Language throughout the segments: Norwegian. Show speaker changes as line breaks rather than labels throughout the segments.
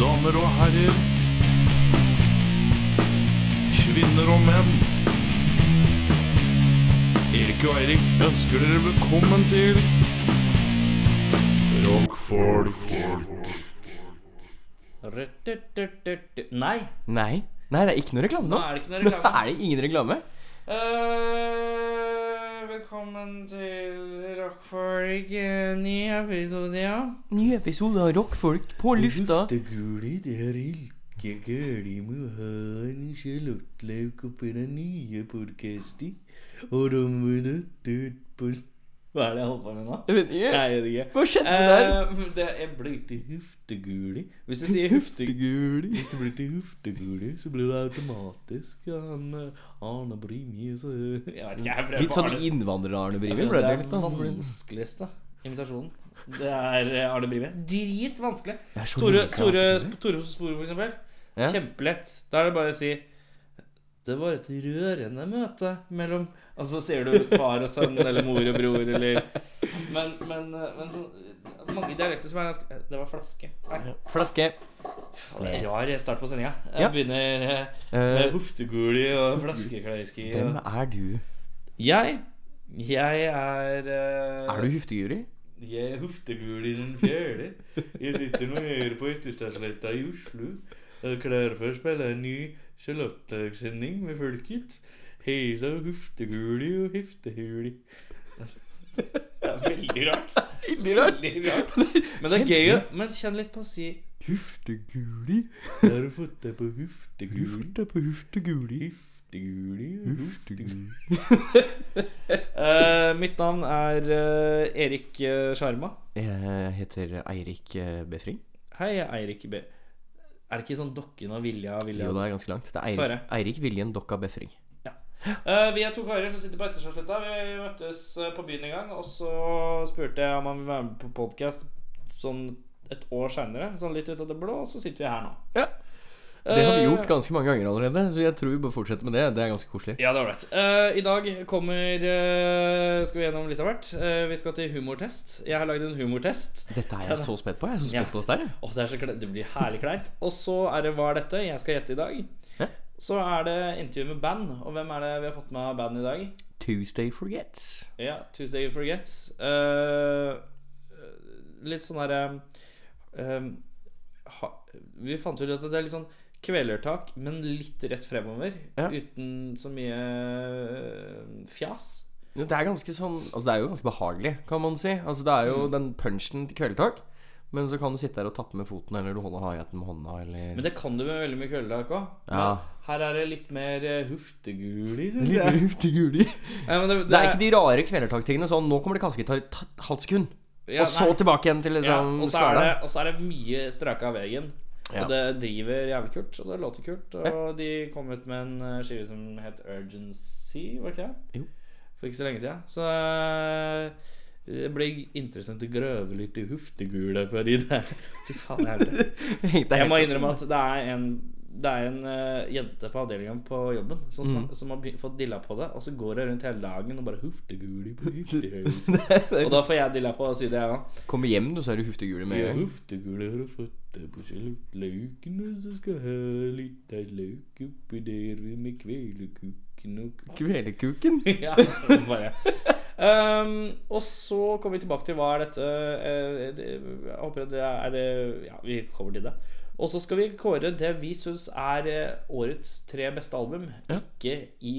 damer og herrer. Kvinner og menn. Erik og Eirik ønsker dere velkommen til Rockfolk.
Rututututu. Nei,
Nei. Nei, det er ikke noe reklame nå.
nå er det ikke noe reklame.
er det ingen reklame.
Eh, velkommen til Rockfolk, eh, ny episode, ja.
Ny episode av Rockfolk på lufta.
Lufteguli, det er ikke gærlig med å ha en sjalottløk oppi den nye podkasten. Og da må du ut på
Hva er det jeg holder på med nå?
Jeg vet ikke.
Nei, jeg vet ikke.
Hva skjedde der?
Eh, det er blitt til hufteguli. Hvis du sier hufteguli
Guli.
Hvis det blir til hufteguli, så blir det automatisk han eh, Arne Brimi, så
Jeg vet ikke, jeg prøver
Litt
på
sånn
Arne.
innvandrer-Arne
Jeg
Brimi
føler
ble
Det
det
er
litt.
den
da.
vanskeligste invitasjonen. Det er eh, Arne Brimi. Dritvanskelig.
Det er så
Tore,
lenge siden
Tore,
jeg har hatt
Tore Spore, for eksempel.
Ja.
Kjempelett. Da er det bare å si Det var et rørende møte mellom Og så sier du far og sønn eller mor og bror eller Men, men, eh, men sånn- mange dialekter som er ganske Det var flaske. Nei,
det. Flaske.
faen, det er rar start på sendinga.
Ja.
Jeg begynner eh,
Eh,
med hofteguli og flaskekløyski.
hvem
og-
er du?
Jeg Jeg er eh,
Er du hufteguri?
jeg er hoftegul i den fjerde. Jeg sitter nå her på Ytterstadsletta i Oslo. Jeg er klar for å spille en ny Charlotte-sending med folket. Heisa hofteguli og heftehuli. Det er veldig rart.
Veldig rart.
Veldig rart. Men det er gøy. å- Men kjenn litt på å si
Hufteguri.
har du fått deg på hufteguli.
Hufta på hufteguri.
Hufteguli,
Hufteguri.
Eh, Mitt navn er eh, Erik eh, Sjarma.
Jeg heter Eirik eh, Befring.
Hei, jeg er Eirik B. Er det ikke sånn dokken og Vilja og Vilja?
Jo, det er ganske langt. Det er
Få høre.
Eirik, Eirik Viljen Dokka Befring.
Eh, vi er to karer som sitter på Ettersvarsletta. Vi møttes eh, på byen en gang, og så spurte jeg om han ville være med på podkast sånn et år seinere. Sånn litt ut av det blå, og så sitter vi her nå.
Ja. Det har vi gjort
Eh,
ganske mange ganger allerede, så jeg tror vi bør fortsette med det. Det er ganske koselig.
Ja, det er ålreit. Eh, I dag kommer eh, Skal vi gjennom litt av hvert. Eh, vi skal til humortest. Jeg har lagd en humortest.
Dette er jeg så spent på. Jeg er så spent
Ja.
på dette her. jeg.
Åh, det, er så kle- det blir herlig kleint. Og så er det Hva er dette? Jeg skal gjette i dag.
Hæ?
Så er det intervju med band. Og hvem er det vi har fått med av band i dag?
Tuesday Forgets.
Ja, Tuesday You Forgets. Eh, litt sånn derre eh, ha- Vi fant ut at det er litt sånn kvelertak, men litt rett fremover.
Ja.
Uten så mye eh, fjas.
Det er ganske sånn Altså det er jo ganske behagelig, kan man si. Altså Det er jo den punchen til kveldtak. Men så kan du sitte der og tappe med foten, eller du holder haiheten med hånda, eller
Men det kan du med veldig mye kvelertak òg.
Ja.
Her er det litt mer eh, hufteguli, synes jeg.
Hufteguli.
Nei, men
Det er ikke de rare kvelertaktingene. Sånn 'nå kommer det kasket, tar et ta- halvt sekund',
ja,
og så
nei.
tilbake igjen til
ja,
liksom
og, så er det, og så er det mye straka av veien.
Ja.
Og det driver jævlig kult, og det låter kult. Og de kom ut med en eh, skive som het Urgency, var det ikke det?
Jo.
For ikke så lenge siden. Så eh, det blir interessant å grøve litt i huftegula på de der. Fy faen, jeg hørte det. Jeg må innrømme at det er en det er en eh, jente på avdelingen på jobben som, snak- som har be- fått dilla på det. Og så går hun rundt hele dagen og bare hufteguli på hufteguli. og da får jeg dilla på å si det, jeg òg.
Kommer hjem, du, så er du hufteguli med
Ja,
en gang.
hufteguli har du fått deg på sjalottløken, og så skal jeg ha litt av løk oppi der med kvelekukken og
Kvelerkuken.
ja, bare. Ehm, og så kommer vi tilbake til hva er dette eh, det, Jeg håper at det er eh, Ja, vi kommer til det. Og så skal vi kåre det vi syns er eh, årets tre beste album. Ikke i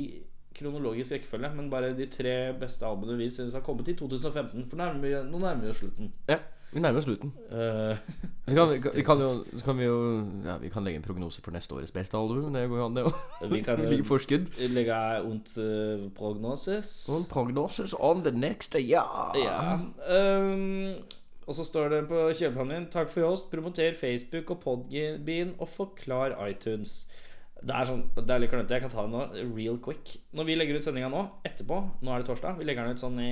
kronologisk rekkefølge, men bare de tre beste albumene vi syns har kommet i 2015. For nærmer, vi- nå nærmer vi oss slutten.
Ja, vi nærmer oss slutten.
Eh,
Så kan, vi, vi kan jo, så kan vi jo ja, Vi kan legge en prognose for neste årets beste album. Det går jo an, det òg.
vi kan
Ligger
jo
forskudd.
legge und eh, prognosis.
On prognosis on the next yeah.
Ja. ehm, og så står det på kjøpehandelen Takk for oss, promoter Facebook og Podbean og forklar iTunes. Det er sånn, det er litt klønete. Jeg kan ta det nå real quick. Når vi legger ut sendinga nå, etterpå, nå er det torsdag, vi legger den ut sånn i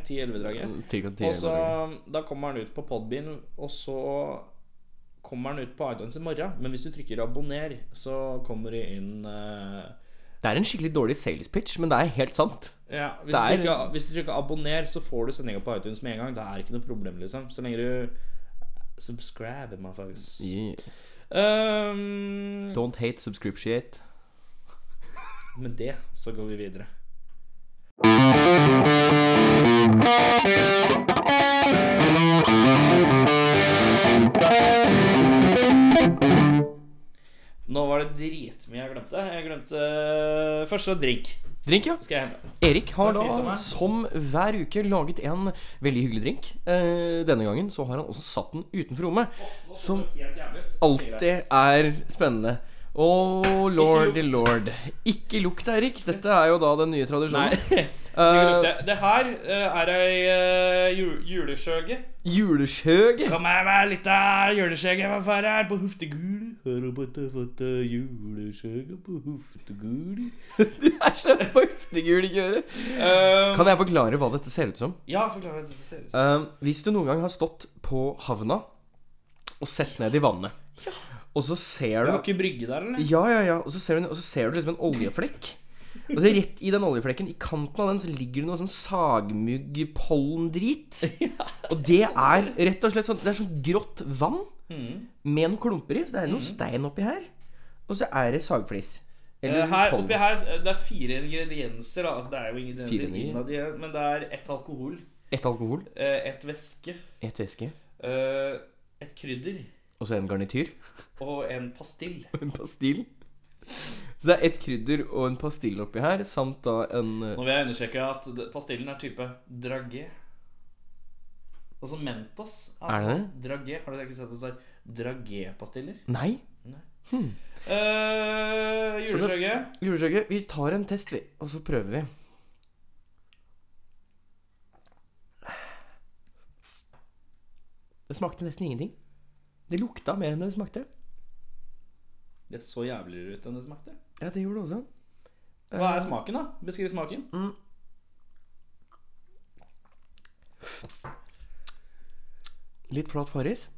10-11-draget.
Cirka Mm, ti
Og så
dager.
Da kommer den ut på Podbean, og så kommer den ut på iTunes i morgen. Men hvis du trykker 'abonner', så kommer det inn eh,
Det er en skikkelig dårlig sales pitch, men det er helt sant.
Ja, hvis, du
Det er-
trykker, hvis du trykker abonner, så får du sendinga på iTunes med en gang. Det er ikke noe problem, liksom. Så lenge du Subscribe, motherfuckers.
Yeah.
Ehm,
Don't hate, subscriptiate.
med det så går vi videre. Nå var det dritmye jeg glemte. Jeg glemte Første var drink.
Drink, ja.
Skal jeg hente.
Erik har
Snakk litt om
da,
meg.
som hver uke, laget en veldig hyggelig drink. Eh, denne gangen så har han også satt den utenfor rommet. Som
Helt jævlig.
alltid er spennende. Å, lordy lord. Ikke lukt, Eirik. Dette er jo da den nye
Nei.
tradisjonen.
Det, det her eh, er ei eh, ju- juleskjøge.
Juleskjøg.
Kom her med litt av juleskjøge, hva faen er det på hoftegul?
Har du fått fått juleskjegget på hofteguli?
Det er så høftegul ikke øre.
Eh,
Kan jeg forklare hva dette ser ut som?
ja, forklar hva det ser ut som.
Eh, hvis du noen gang har stått på havna og sett ned i vannet, og så
Du
ser du
har ikke brygge der, eller?
Ja, ja, ja. Og så ser du, og så ser du liksom en oljeflekk. Og så rett i den oljeflekken, i kanten av den, så ligger det noe sånn sagmuggpollendrit. Og det er rett og slett sånn Det er sånn grått vann
Mm.
med noen klumper i. Så det er noe stein oppi her. Og så er det sagflis.
Eh,
Eller
Her,
pollen.
oppi her, eh, det er fire ingredienser. da. Altså, det er jo
Fire
ingredienser
ingredienser.
innad i det, men det er ett alkohol,
Ett alkohol,
eh, ett væske,
ett væske,
eh, et krydder
og så en garnityr.
og en pastill.
En pastill. Så det er ett krydder og en pastill oppi her, samt da en eh,
Nå vil jeg understreke at d- pastillen er type dragé. Altså Mentos. Altså,
Er det
Dragé. Har dere ikke sett det så er dragé-pastiller?
Nei.
Eh, Uh, Juleskjøge.
Juleskjøkkenet, vi tar en test, vi. Og så prøver vi. Det smakte nesten ingenting. Det lukta mer enn det smakte.
Det så jævligere ut enn det smakte.
Ja, det gjorde det også.
Hva er smaken, da? Beskriv smaken.
Litt flat farris.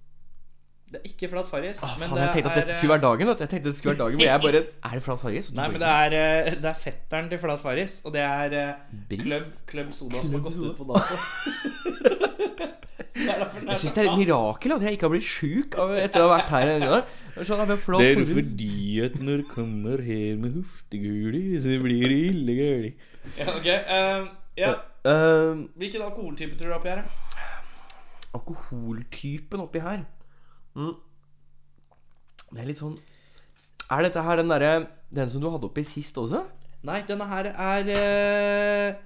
Det er ikke flat farris.
Ah,
men
faen,
det
jeg tenkte at dette
er,
skulle være dagen. Vet. du. Jeg tenkte det skulle være dagen Hvor jeg bare Er det flat farris?
Nei, men det er, eh, det er fetteren til flat farris, og det er eh,
Bris?
Club, Club Soda som har
Club
gått
Soda.
ut på dato. Det er derfor den er
Jeg syns det er et mirakel at jeg ikke har blitt sjuk av- etter å ha vært her ennå. Sånn, det er flat
Det er
farris.
fordi at når kommer her med hofteguli, så blir det ille gøli.
Ja, ok, eh, ja.
Ehm,
Hvilken alkoholtype tror du er oppi her? da?
alkoholtypen oppi her. Mm. Det er litt sånn Er dette her den derre Den som du hadde oppi sist også?
Nei, denne her er eh,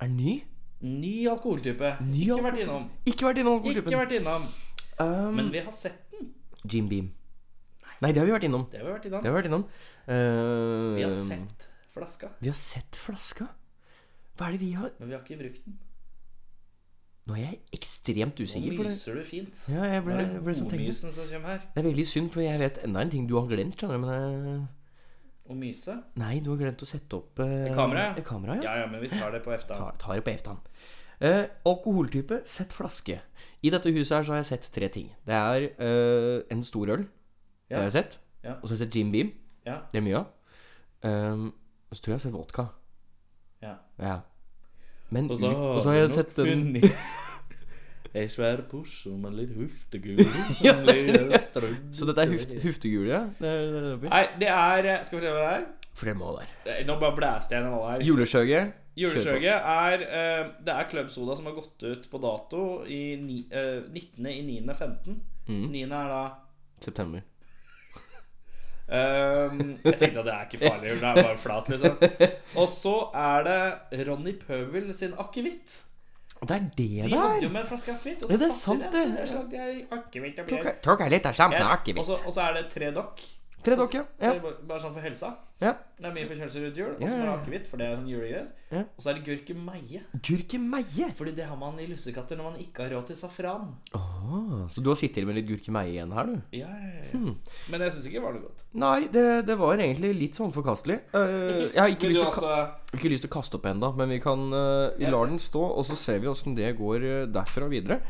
Er ny?
ny alkoholtype.
Ny
ikke
alkohol-
vært innom.
Ikke vært innom
Ikke
alkoholtypen.
vært innom.
Um,
Men vi har sett den.
Jim Beam. Nei, det har vi vært innom.
Det har vi vært innom.
Det har Vi vært innom Eh,
Vi har sett flaska,
Vi har sett flaska. Hva er det vi har
men vi har ikke brukt den.
Nå er jeg ekstremt usikker.
Nå
For det.
myser du fint.
Ja, jeg
Nå
ble,
er
jeg ble
det
sånn tenkende.
godmysen som kommer her.
Det er veldig synd, for jeg vet enda en ting du har glemt. skjønner du, men... eh,
Og myse?
Nei, du har glemt å sette opp eh,
Et kamera, ja.
et kamera, ja.
Ja ja, men vi tar det på eftan.
tar, tar det på eftan. Eh, alkoholtype, sett flaske. I dette huset her så har jeg sett tre ting. Det er eh, en stor øl. Det
Ja.
har jeg sett.
Ja.
Og så har jeg sett Jim Beam.
Ja.
Det er mye av. Um, og så tror jeg jeg har sett vodka.
Ja.
Ja. Men ut-
Og så har,
har jeg
vi nok
sett den
funnet ei svær pose med litt hofteguli som blir strødd
Så dette er huft, huftegule, ja? Det er, det er oppi.
Nei, det er eh, Skal vi se hva det er?
For det må være.
Eh, Nå bare blæste jeg gjennom alle her.
Juleskjøget.
Juleskjøget er eh, Det er Club Soda som har gått ut på dato i ni, eh, 19. i 9. 15.
Mm.
9. er da
September.
Ehm, jeg tenkte at det er ikke farlig, det er bare flat, liksom. Og så er det Ronny Pøbel sin akevitt.
Og det er det
De
det
hadde
er!
jo med en flaske akevitt.
Ja, det er sant,
det.
det.
akevitt og
Tok
bjørn.
jeg- Tok jeg litt av sammen
Ja, altså-
akevitt.
Og så- og så er det tre dokk.
Tre dokker, ja.
Det er Bare bare sånn for helsa.
ja.
Det er mye forkjølelse rundt jul. Og
Ja,
så er det
ja, ja.
akevitt, for det er sånn julegreie.
Ja.
Og så er det gurkemeie.
ja. Gurkemeie.
Fordi det har man i lussekatter når man ikke har råd til safran.
Ah, så du har sittet med litt gurkemeie igjen her, du?
Ja, ja, ja.
Hmm.
Men jeg syns ikke det var noe godt.
Nei, det, det var egentlig litt sånn forkastelig. Eh, jeg har ikke
Men
lyst,
du,
til å ka-
altså,
ikke lyst til å kaste opp ennå, men vi kan eh, Vi
Jeg
lar den stå, og så ser vi åssen det går eh, derfra videre.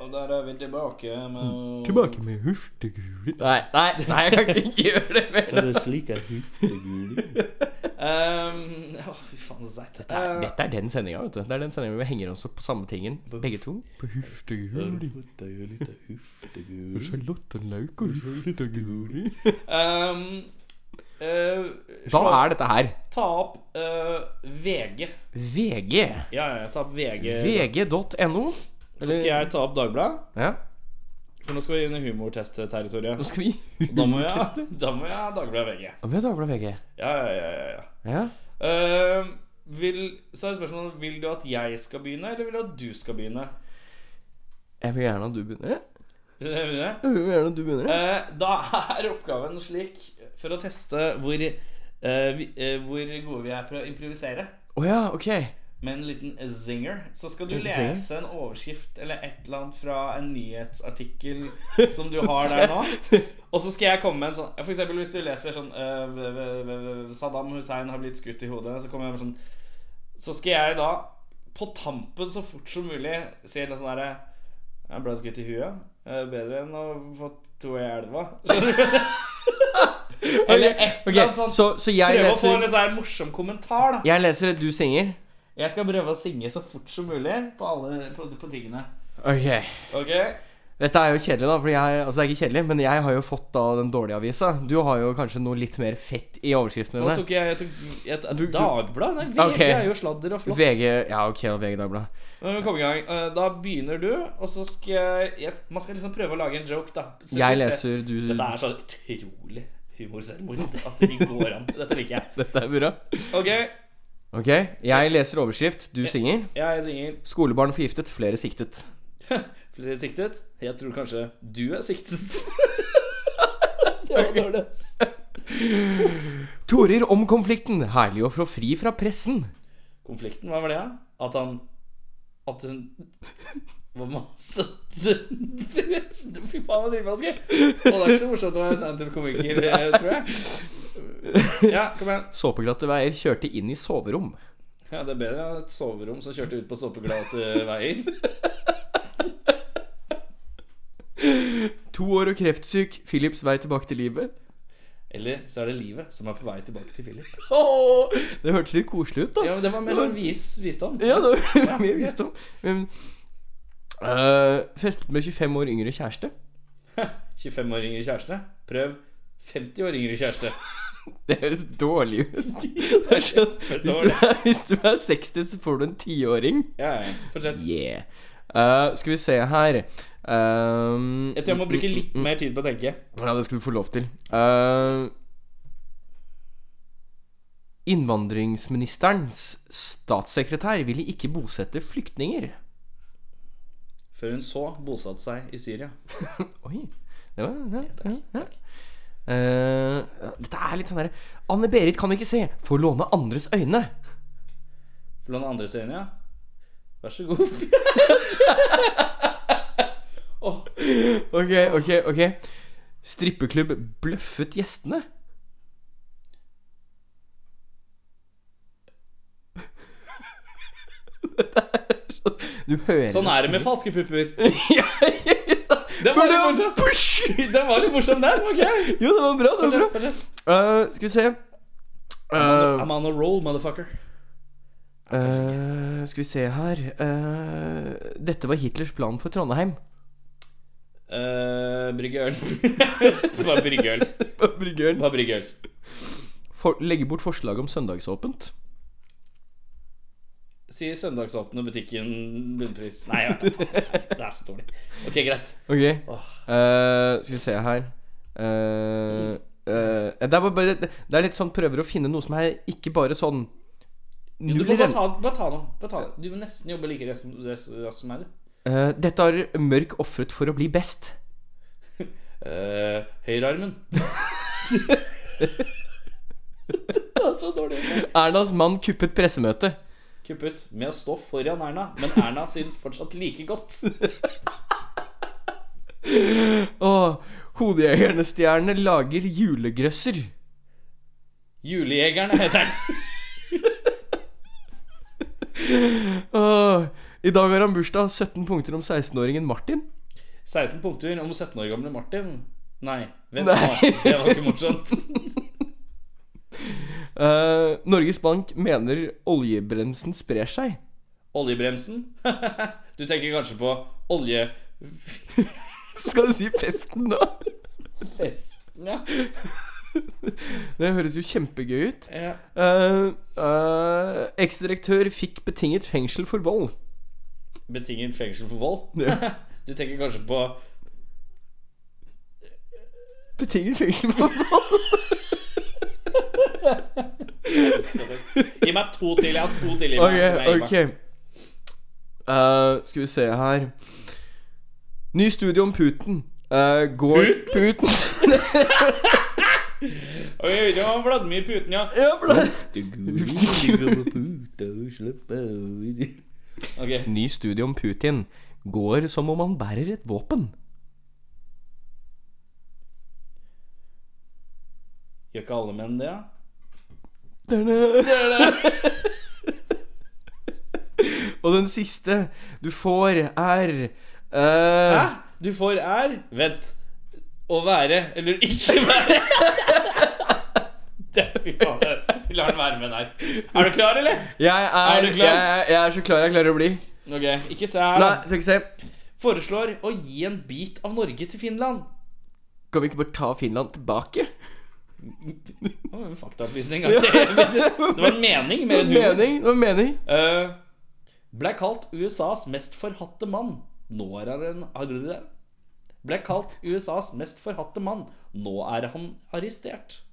Og der er vi tilbake med
Hmm. tilbake med huftegule Nei, nei, nei, jeg kan ikke gjøre det mer.
Og det er slik jeg hufteguli.
Ehm, Å, fy faen, så seigt.
Det er,
Eh,
dette er den sendinga, vet du. Det er den sendinga vi henger oss opp på samme tingen, begge to. På
Har du
hufteguli.
fått deg litt av hufteguli?
Charlottenlauk og hufteguli.
ehm, eh,
Hva
slå-
er dette her?
Ta opp eh, VG.
VG.
Ja, ja, ta opp VG.
VG.no.
Så skal jeg ta opp Dagbladet.
Ja.
For nå skal vi inn i humortest-territoriet.
Nå skal vi
Og Da må jeg, da må jeg ha Dagbladet VG.
Nå blir det Dagbladet VG.
Ja, ja, ja, ja, ja.
Ja.
Eh, vil, så er spørsmålet Vil du at jeg skal begynne, eller vil du at du skal begynne?
Jeg vil gjerne at du begynner. jeg.
Vil dere begynne?
Jeg vil gjerne at du begynner. jeg.
Eh, da er oppgaven slik For å teste hvor, eh, vi, eh, hvor gode vi er på å improvisere
Å ja, ok.
Med en liten zinger Så skal du
En zinger?
lese en overskrift Eller et eller annet fra en nyhetsartikkel Som du har der nå Og så skal jeg komme med en sånn For eksempel hvis du leser sånn eh, v- v- v- v- Saddam Hussein har blitt skutt i hodet Så kommer jeg med sånn Så skal jeg da på tampen så fort som mulig Si litt sånn der Jeg ble skutt i huet Eh, Bedre enn å få to i elva Eller et
Ok,
eller annet sånt
Så, så jeg
sånn Prøve å få en
leser
litt sånn morsom kommentar da
Jeg leser det du synger.
Jeg skal prøve å synge så fort som mulig På, alle, på, på tingene
Ok.
Ok
Dette er jo kjedelig, da. Fordi jeg, altså det er ikke kjedelig, men jeg har jo fått da den dårlige avisa. Du har jo kanskje noe litt mer fett i overskriftene
Nå
dine.
tok jeg, jeg tok, jeg,
Du- du-
Dagblad? Nei, VG
Ok.
er jo sladder og flott
VG Ja, ok, og VG Dagbladet.
Nå må vi komme i gang Eh, Da begynner du Og så skal jeg, jeg Man skal liksom prøve å lage en joke da Så
Jeg
vi ser-
leser du
Dette er så utrolig humorselvmord At det ikke går an Dette liker jeg
Dette er bra.
Ok
Ok, jeg leser overskrift. Du synger.
Jeg synger
'Skolebarn forgiftet, flere siktet'.
Flere siktet Jeg tror kanskje du er siktet Det var dårlig ass.
Torer om konflikten. Herlig å få fri fra pressen.
Konflikten, hva var det da? At han At hun Hva masse Fy faen, det er dritvanskelig Og det er ikke så morsomt å være standup-komiker, eh, tror jeg Ja, kom igjen
Såpeglatte veier kjørte inn i soverom.
Ja, det er bedre enn et soverom som kjørte ut på eh, såpeglade veier
To år og kreftsyk. Philips vei tilbake til livet.
Eller så er det livet som er på vei tilbake til Philip
Åh, det hørtes litt koselig ut, da.
Ja, men det var mer sånn vis, visdom
Ja, det var mye
greit.
visdom. Men, øh, festet med 25 år yngre kjæreste.
25 år yngre kjæreste Prøv 50 år yngre kjæreste
Det høres dårlig ut. Det er sånn, hvis, du er, hvis du er 60, så får du en tiåring.
Ja, ja, fortsett
Yeah. Øh, skal vi se her Ehm,
Jeg tror jeg må bruke litt mer tid på å tenke
Ja, det skal du få lov til. Ehm, innvandringsministerens statssekretær ville ikke bosette flyktninger.
Før hun så bosatt seg i Syria
Oi. Det var, ja, ja, ja. Eh, dette er litt sånn derre Anne-Berit kan ikke se, får låne andres øyne.
For noen andre øyne, ja. Vær så god.
Ok, ok, ok Strippeklubb bløffet gjestene. Dette er sånn Du hører
Sånn er det med falske pupper.
Ja, ja, ja.
Den var
Men det
litt
var
morsom.
push!
Den var litt morsom der. var ikke jeg?
Jo, det var bra. det var
Fortsett,
bra
fortsett.
Eh, Skal vi se Eh,
I'm on a roll, motherfucker.
Eh, skal vi se her Eh, Dette var Hitlers plan for Trondheim.
Uh, brygge øl. Bare brygge øl. Bare brygge øl.
For, legge bort forslaget om søndagsåpent.
Sier søndagsåpne butikken bunnpris. Nei, jeg vet da faen. Det er så dårlig. Ok, greit.
Ok. Eh, skal vi se her Eh, eh, det, er bare, bare- det er litt sånn prøver å finne noe som er ikke bare sånn
Du
Null
må bare
rente.
ta, bare ta noe. Bare ta. noe. Du må nesten jobbe like raskt som- raskt som meg, du.
Eh, dette har Mørk ofret for å bli best.
Eh, Høyrearmen.
Ernas mann kuppet pressemøtet.
Kuppet med å stå foran Erna, men Erna synes fortsatt like godt.
Åh, Hodejegerne-stjernene lager julegrøsser.
Julejegerne heter den.
Åh, I dag har han bursdag. 17 punkter om 16-åringen Martin.
16 punkter om 17 år gamle Martin. Nei, vent nå.
Nei.
Det var ikke morsomt.
Eh, Norges Bank mener oljebremsen sprer seg.
Oljebremsen. Du tenker kanskje på oljefesten,
Skal du si festen nå?
ja.
Det høres jo kjempegøy ut.
ja.
Uh, Eksdirektør fikk betinget fengsel for vold.
Betinget fengsel for vold.
Ja.
Du tenker kanskje på
Betinget fengsel for vold?
Gi meg to til. Jeg har to til i meg.
Ok,
som jeg gir meg.
ok. Eh, skal vi se her Ny studie om Putin. Eh, går Putin?
Og vi vet jo om Vladimir Putin, ja.
ja, bla.
Det gule ligger på puta og slapper av.
Ok,
Ny studie om Putin går som om han bærer et våpen.
Gjør ikke alle menn det, ja?
Og den siste du får, er
Hæ?
eh,
Du får er Vent. Å være eller ikke være. Det, fy faen. det- Vi lar den være med den her. Er du klar, eller?
Jeg er,
Er du klar?
Jeg, er- jeg er så klar jeg klarer å bli.
Ok, ikke se her.
Nei,
da.
skal ikke se.
Foreslår å gi en bit av Norge til Finland.
Kan vi ikke bare ta Finland tilbake?
Det var en faktaopplysning. at Det det var en mening mer enn humor.
Mening, noe mening.
Eh, ble kalt USAs mest forhatte mann. Nå er han arrestert. Ble kalt USAs mest forhatte mann. Nå er han arrestert.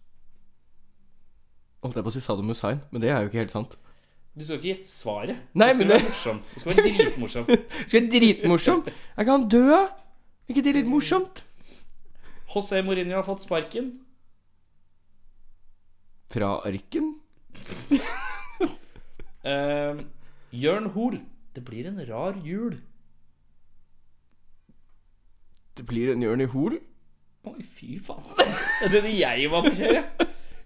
Holdt jeg på å si Saddam Hussein, men det er jo ikke helt sant.
Du skal ikke gjette svaret.
Nei,
du skal
men
være
det-
morsom. Du skal være dritmorsom.
Skal jeg dritmorsom? Er ikke han død? Er ikke det litt morsomt?
José Mourinho har fått sparken.
Fra arken?
Uh, Jørn Hoel. Det blir en rar jul.
Det blir en Jørn i Hol.
Oi, fy faen. Jeg trodde jeg var på kjøret.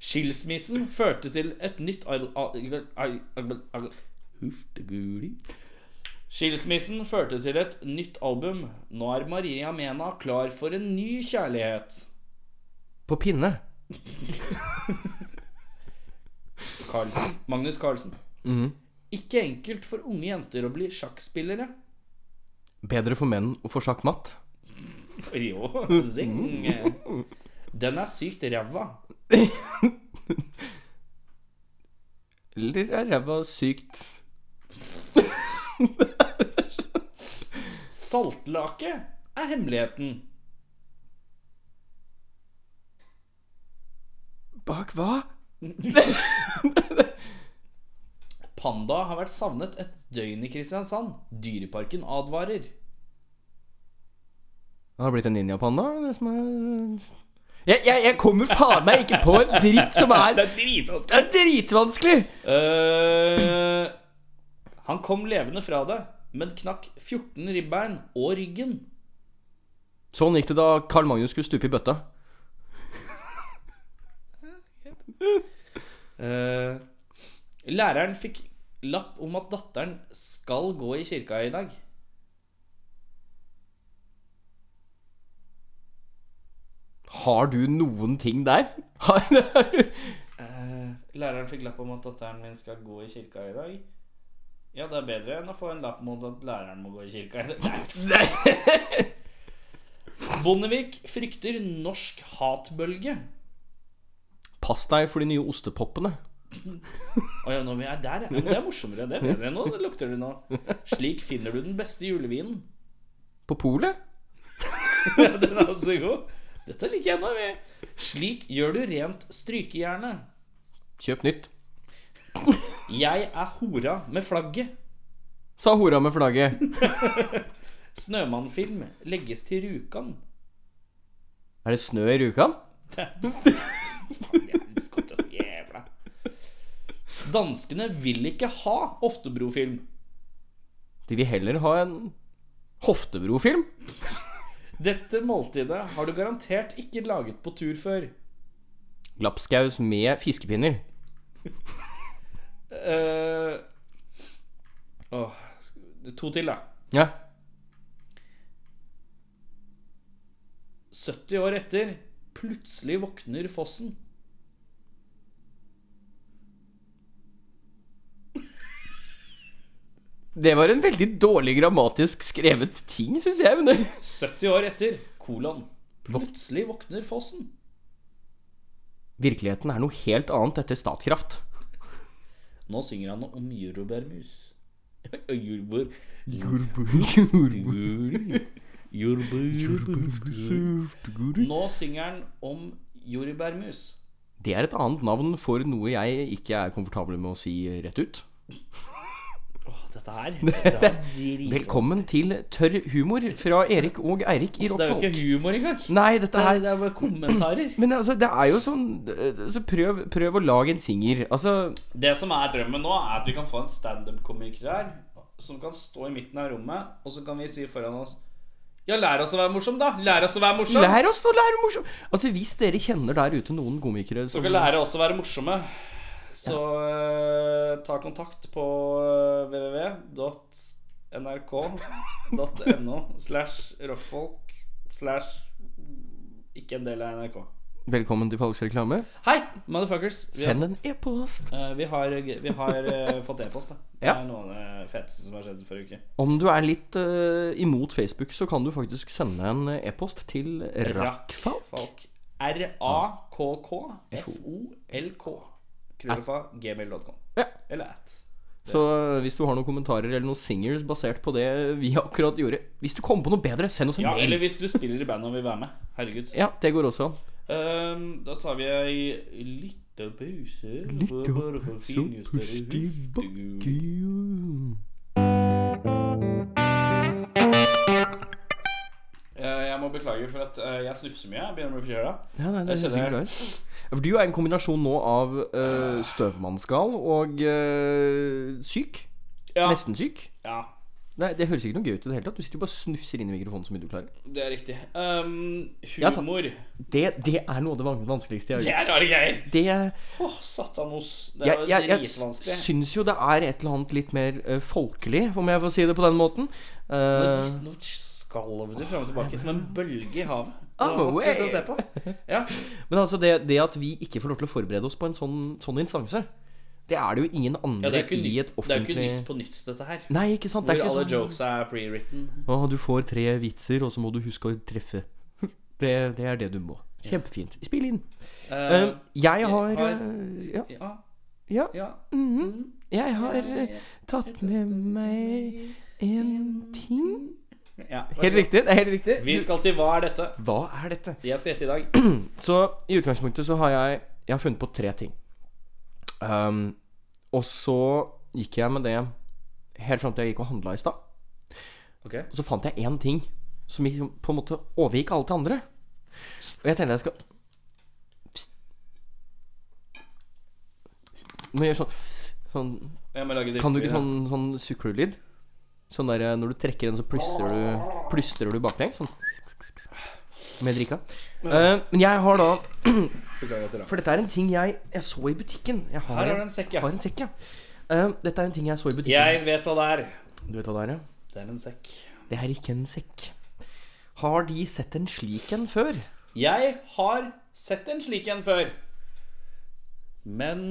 Skilsmissen førte til et nytt al- al- al- al- al-
Huff det gule.
Skilsmissen førte til et nytt album. Nå er Maria Mena klar for en ny kjærlighet.
På pinne.
Carlsen. Magnus Carlsen.
Mhm.
Ikke enkelt for unge jenter å bli sjakkspillere.
Bedre for menn å få sjakkmatt.
Jo, zing. Den er sykt ræva.
Eller er ræva sykt
Saltlake er hemmeligheten.
Bak hva?
Panda har vært savnet et døgn i Kristiansand. Dyreparken advarer.
Han har blitt en ninjapanda? er det det som er- Jeg, jeg, jeg kommer faen meg ikke på en dritt som er Det
er dritvanskelig. Eh,
er dritvanskelig!
han kom levende fra det, men knakk 14 ribbein og ryggen.
Sånn gikk det da Carl Magnus skulle stupe i bøtta.
Eh, læreren fikk lapp om at datteren skal gå i kirka i dag.
Har du noen ting der? Har-
Eh, læreren fikk lapp om at datteren min skal gå i kirka i dag. Ja, det er bedre enn å få en lapp mot at læreren må gå i kirka i dag. Nei. Bondevik frykter norsk hatbølge.
Pass deg for de nye ostepoppene.
Å ja, nå er jeg der, ja. Men Det er morsommere. Det er bedre. Nå lukter det nå. Slik finner du den beste julevinen.
På polet?
Ja, Den er også god. Dette liker jeg nå, vi. Slik gjør du rent strykejernet.
Kjøp nytt.
Jeg er hora med flagget.
Sa hora med flagget.
Snømannfilm legges til Rjukan.
Er det snø i Rjukan?
Jævlig skott, altså. Jævla. Danskene vil ikke ha Oftebrofilm.
De vil heller ha en Hoftebrofilm.
Dette måltidet har du garantert ikke laget på tur før.
Lapskaus med fiskepinner.
Eh, åh, sk- to til, da.
Ja.
70 år etter, plutselig våkner fossen.
Det var en veldig dårlig grammatisk skrevet ting, syns jeg. Men det
70 år etter, kolon. Plutselig våkner fossen.
Virkeligheten er noe helt annet etter Statkraft.
Nå synger han om jordbærmus. Og jordbær Nå synger han om jordbærmus.
Det er et annet navn for noe jeg ikke er komfortabel med å si rett ut.
Åh, dette her Det er dritvanskelig.
Velkommen til Tørr humor fra Erik og Eirik i
Det er jo ikke
Rockfolk.
humor engang.
Nei, dette
Nei,
her
det er bare kommentarer.
Men altså, det er jo sånn altså, prøv, prøv å lage en singer. Altså
Det som er drømmen nå, er at vi kan få en standup-komiker her som kan stå i midten av rommet, og så kan vi si foran oss Ja, lær oss å være morsom, da! Lær oss å være morsom!
Lær oss å lære morsom Altså, hvis dere kjenner der ute noen komikere
Så
som
skal lære oss å være morsomme. Så eh, ta kontakt på eh, www.nrk.no slash rockfolk slash ikke en del av NRK.
Velkommen til falsk reklame.
Hei, motherfuckers! Vi har,
Send en e-post.
eh, vi har, vi har eh, fått e-post, da. Det
Ja.
er noe av det feteste som har skjedd forrige uke.
Om du er litt eh, imot Facebook, så kan du faktisk sende en eh, e-post til Rakkfall.
Rakkfolk. R-a-k-k-f-o-l-k. Krøllefa gmail.com.
Ja.
Eller at.
Så eh, hvis du har noen kommentarer eller noen singers basert på det vi akkurat gjorde Hvis du kommer på noe bedre, send oss en
Ja, eller
mail.
hvis du spiller i band og vil være med. Herregud.
Ja, det går også an.
Ehm, da tar vi ei lita pause.
Lita
bare for å
pause,
finjustere
pust i
hoftegul. Eh, Jeg må beklage for at eh, jeg snufser mye. Jeg begynner å bli forkjøla.
Ja, nei, det
Jeg
er
kjenner-
sikkert det. Ja, For du er en kombinasjon nå av eh, støvmannsgal og eh, syk.
Ja.
Nesten syk.
ja,
Nei, Det høres ikke noe gøy ut i det hele tatt. Du sitter jo bare og snufser inn i mikrofonen så mye du klarer.
det er riktig. Ehm,
Ja, takk.
humor.
Det, det er noe av det van- vanskeligste jeg
Det
har gjort.
er rare greier.
Det, jeg,
Åh, satanos. Det er
jeg, jeg,
dritvanskelig.
syns jo det er et eller annet litt mer eh, folkelig, om jeg får si det på den måten. Eh,
Nå- Nå skalv du frem og tilbake som en bølge i havet. Det
I'm
var vakkert å
away.
se på. Ja.
men altså, det, det at vi ikke får lov til å forberede oss på en sånn, sånn instanse, det er det jo ingen
Ja,
andre
det, er jo ikke
i et
nytt, det er jo
offentlig
ikke nytt på nytt, dette her.
Nei, ikke sant?
Hvor
det er ikke
alle
sånn-
jokes er pre-written.
Å, du får tre vitser, og så må du huske å treffe. Det, det er det du må. Kjempefint. Spill inn.
Eh,
Eh, jeg har
har-
eh, Ja.
ja,
ja
ja.
mhm. Jeg har eh, tatt med meg en ting
Ja, vær så
Helt
god.
riktig. det er Helt riktig.
Vi skal til hva er dette?
Hva er dette?
Jeg skal gjette i dag.
Så i utgangspunktet så har jeg Jeg har funnet på tre ting. Ehm, og så gikk jeg med det helt fram til jeg gikk og handla i stad.
Ok.
Og så fant jeg én ting som gikk, på en måte overgikk alle til andre. Og jeg tenkte jeg skal Psst. Må gjøre sånn, sånn
Jeg må lage det
Kan du ikke
riktig,
sånn, sånn sukrelyd? Sånn der eh, når du trekker den, så plystrer du, plystrer du baklengs? Sånn. Med drikka. Eh, men jeg har da
ja. Beklager at det er rart.
For dette er en ting jeg, jeg så i butikken. Jeg har,
Her har du
en,
en sekk, ja.
har en sekk, ja. Eh, dette er en ting jeg så i butikken.
Jeg vet hva det er.
Du vet hva det er, ja?
Det er en sekk.
Det er ikke en sekk. Har de sett en slik en før?
Jeg har sett en slik en før. Men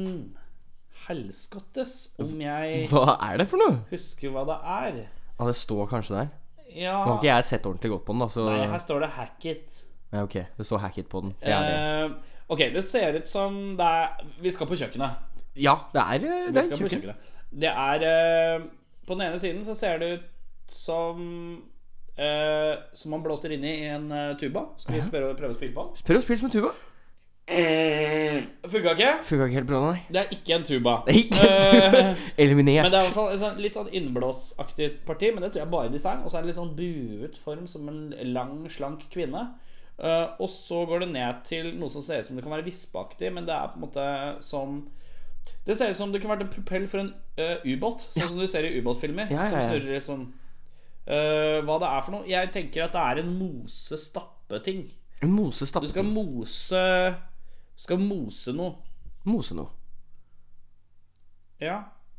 helskottes om jeg
Hva er det for noe?
husker hva det er.
Ja, det står kanskje der.
Ja
Nå har ikke jeg sett ordentlig godt på den, da, så
Nei, her står det 'hacket'.
Nei, ok. Det står hacket på den. Det er det.
Eh, ok, det ser ut som det er Vi skal på kjøkkenet.
Ja, det er, eh,
Vi
det er
skal på
kjøkken.
kjøkkenet. Det er eh, På den ene siden så ser det ut som eh, Som man blåser inni i en eh, tuba. Skal vi spørre, prøve å spille på den?
Prøv å spille som tuba.
Funka ikke?
Funka ikke helt bra, nei.
Det er ikke en tuba.
Det er ikke en tuba.
Eh,
Eliminert.
Men det er i hvert fall en sånn, litt sånn innblåsaktig parti, men det tror jeg bare i design. Og så er det litt sånn buet form som en lang, slank kvinne. Eh, og så går det ned til noe som ser ut som det kan være vispeaktig, men det er på en måte som Det ser ut som det kunne vært en propell for en eh, ubåt, sånn som du ser i ubåtfilmer.
Ja, ja,
Som
ja.
snurrer litt sånn Eh, Hva det er for noe? Jeg tenker at det er en mose-stappeting.
En mose
Du skal
stappet
mose Du skal mose noe.
Mose noe.
Ja.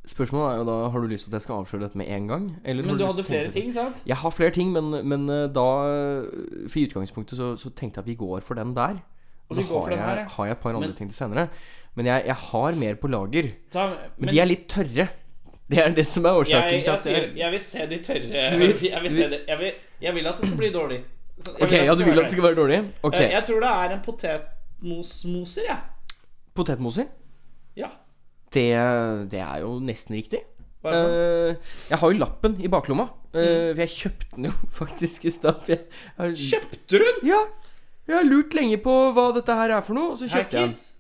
Spørsmålet er jo da Har du lyst til at jeg skal avsløre dette med en gang? Eller har
Men du
lyst
hadde
til å tenke
flere
på det?
ting, sant?
Jeg har flere ting, men, men eh, da eh, For i utgangspunktet så, så tenkte jeg at vi går for den der.
Og
Og
vi
så
går for
har
den her,
jeg,
ja.
har jeg et par andre
Men-
ting til senere. Men jeg, jeg har mer på lager.
Ta,
Men, de er litt tørre. Det er det som er årsaken
jeg, jeg,
til
sier,
at
jeg vil se de tørre
Du vil-
Jeg vil
du
se
vil-
det Jeg vil, jeg vil at det skal bli dårlig. Så- jeg
Ok, ja, du vil at det
være
skal være dårlig? Ok,
dårlig. Eh, Jeg tror det er en potetmosmoser, jeg.
Potetmoser?
Ja.
Det, det er jo nesten riktig.
Hva er det for noe? Mm.
Eh, jeg har jo lappen i baklomma. eh, For jeg kjøpte den jo faktisk i stad. for jeg- jeg har-
Kjøpte du den?
Ja. Jeg har lurt lenge på hva dette her er for noe, og så kjøpte jeg den.
Hackit?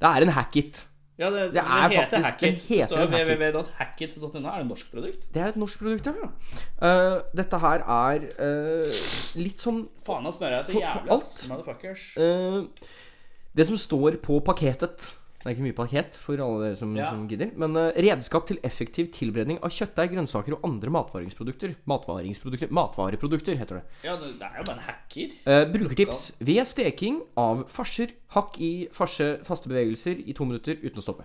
Det er en hackit.
Ja, det,
Det
den
er
heter
faktisk-
Hackit.
den
Det står
heter Hackit.
www.hackit.no. Er det et norsk produkt?
Det er et norsk produkt, ja. Eh, dette her er eh, litt sånn
Faen, nå snører jeg så
For- for
jævlig, ass.
alt?
Motherfuckers.
eh, Det som står på paketet Det er ikke mye paket for alle dere som,
Ja.
som gidder. Men eh, redskap til effektiv tilberedning av kjøttdeig, grønnsaker og andre matvaringsprodukter. Matvaringsprodukter Matvareprodukter, heter det.
Ja, det, det er jo bare en hacker.
Eh, brukertips ved steking av farser. Hakk i farse faste bevegelser i to minutter uten å stoppe.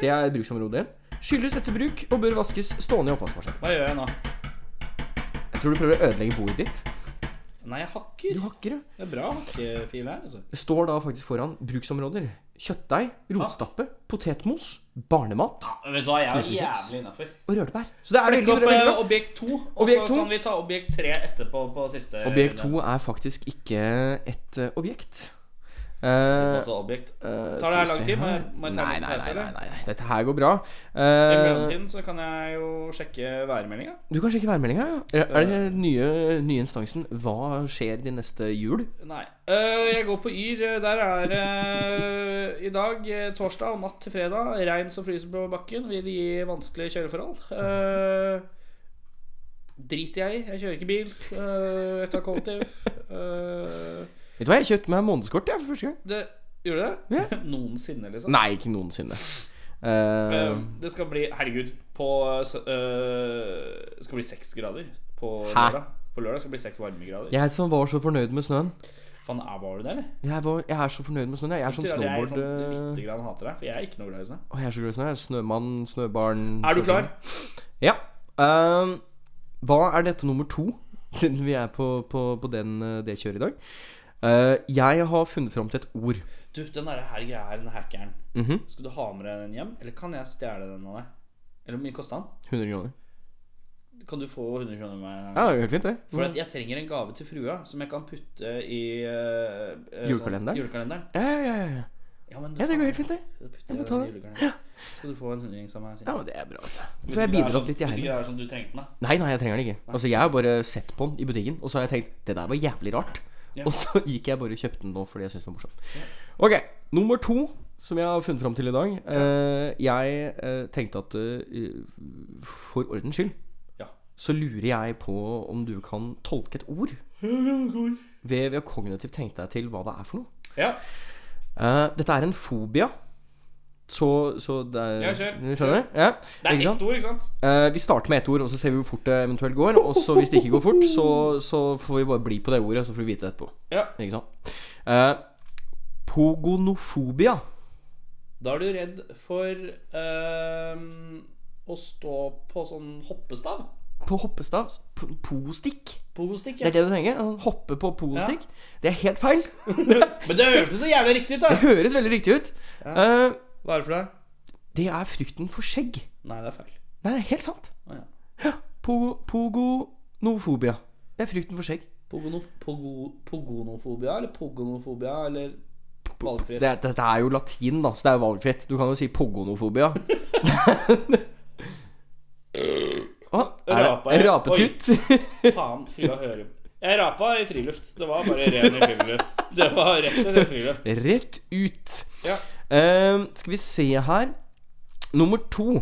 Det er bruksområdet. Skyldes etter bruk og bør vaskes stående i oppvaskmaskinen.
Hva gjør jeg nå?
Jeg tror du prøver å ødelegge bordet ditt.
Nei, jeg hakker.
Du hakker, ja.
Det er bra hakkefil her, altså.
Det står da faktisk foran bruksområder. Kjøttdeig, rotstappe, potetmos, barnemat
Ja, vet du hva, jeg er
Tusen takk.
jævlig innafor.
og rødbær. Så det er
Flekk
veldig,
opp
veldig
eh,
bra.
objekt to, og så
Objekt to.
kan vi ta objekt tre etterpå på siste
Objekt to er faktisk ikke et eh, objekt.
Så
Eh,
ta objekt.
eh,
sånn Tar det her lang
skal vi se
tid? Må jeg- må jeg ta en
Nei,
liten
nei,
pause,
nei,
eller?
nei, nei, nei. Dette her går bra.
I
Eh,
mellomtiden så kan jeg jo sjekke værmeldinga.
Du kan sjekke værmeldinga. ja. Er er det nye, nye instansen Hva skjer de neste jul?
Nei. Eh, jeg går på Yr. Der er det eh, i dag, eh, torsdag og natt til fredag, regn som fryser på bakken. Vil gi vanskelige kjøreforhold. Eh, driter jeg i. Jeg kjører ikke bil. Uh, jeg tar kollektiv. Eh,
Vet du hva, jeg kjøpte meg månedskort jeg, for første gang.
det Gjorde du det? Noensinne, liksom.
Nei, ikke noensinne. Eh,
Eh, det skal bli Herregud. På uh, Det skal bli seks grader på
Hæ?
lørdag. På lørdag skal det bli seks varmegrader.
jeg som var så fornøyd med snøen.
Faen, er var du der, eller?
Jeg, var, jeg er så fornøyd med snøen. Jeg, jeg er sånn
Tror jeg er
snowboard...
sånn
eh,
lite grann hater deg, for jeg er ikke noe glad i snø.
Å, jeg er så glad i snø. jeg. Snømann, snøbarn
Er du
snøfugl.
klar?
Ja. Ehm, hva er dette nummer to? Siden vi er på, på, på den, eh, det kjøret i dag. Eh, jeg har funnet fram til et ord.
Du, den der her greia her, den hackeren.
Mhm,
Skal du ha med deg den hjem, eller kan jeg stjele den av deg? Eller hvor mye kosta den?
100 kroner.
Kan du få 100 kroner med
Ja, det er helt fint, det.
For at jeg trenger en gave til frua som jeg kan putte i eh, eh,
Julekalenderen?
Sånn, julekalenderen.
Ja, ja, ja, ja.
Ja, men
ja, det går helt fint, det.
Da putter
Jeg
jeg den
betaler.
i julekalenderen. Skal du få en hundrings av meg? Siden.
Ja, men det er bra. vet du.
Hvis
For jeg
ikke det er
bidrar
sånn-
litt, jeg
Hvis ikke
heller.
det er sånn du trengte den, da.
Nei, nei, jeg trenger den ikke. Altså, Jeg har bare sett på den i butikken, og så har jeg tenkt det der var jævlig rart.
Ja.
Og så gikk jeg bare og kjøpte den nå fordi jeg syntes det var morsomt. Ok, nummer to som jeg har funnet fram til i dag. Eh, jeg eh, tenkte at eh, for ordens skyld
Ja.
så lurer jeg på om du kan tolke et ord. Ved, ved å kognitivt tenke deg til hva det er for noe.
Ja,
Eh, dette er en fobia. Så, så det er
Ja, kjør.
Du Skjønner du? Ja.
Det
Ikke
er
sant?
ett ord, ikke sant?
Eh, vi starter med ett ord, og så ser vi hvor fort det eventuelt går. Og så hvis det ikke går fort, så, så får vi bare bli på det ordet, og så får vi vite det etterpå.
Ja.
Ikke sant? Eh, pogonofobia.
Da er du redd for ehm, å stå på sånn hoppestav.
På hoppestav. P- Postikk.
Pogostikk.
Det
Ja.
er det du trenger. å Hoppe på postikk. Det er helt feil.
Men det hørtes så jævlig riktig ut,
Det
da!
høres veldig riktig ut. Eh,
Hva er det for deg?
det er frykten for skjegg.
Nei, det er feil.
Nei, det er helt sant.
Å, ja.
Pogo, pogonofobia. Det er frykten for skjegg.
Pogono, pogo, pogonofobia eller pogonofobia eller valgfrihet.
Det, dette er jo latin, da, så det er jo valgfritt. Du kan jo si pogonofobia. Å, er
Rapa,
det
ja.
rapetutt?
Faen, frua hører Jeg rapa i friluft. Det var bare ren i friluft. Det var rett og slett friluft.
Rett ut.
Ja.
Ehm, skal vi se her Nummer to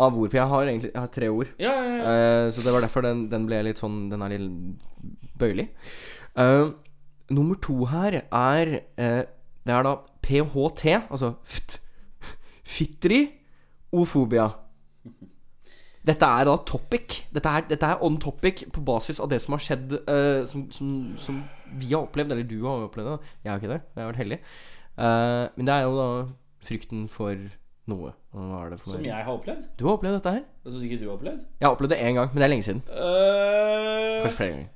av ord. For jeg har egentlig jeg har tre ord.
Ja, ja, ja.
Eh, så det var derfor den, den ble litt sånn Den er litt bøyelig. Ehm, nummer to her er eh, Det er da PHT, altså ft, fitri ofobia. Dette er da topic. Dette er, dette er on topic på basis av det som har skjedd, eh, som, som, som vi har opplevd, eller du har opplevd det. da. Jeg har ikke det, jeg har vært heldig. Eh, men det er jo da frykten for noe. Hva er det for
Som
noe?
jeg har opplevd.
Du har opplevd dette her?
Jeg syns ikke du har opplevd.
Jeg har opplevd det én gang, men det er lenge siden.
Eh,
Kanskje flere ganger.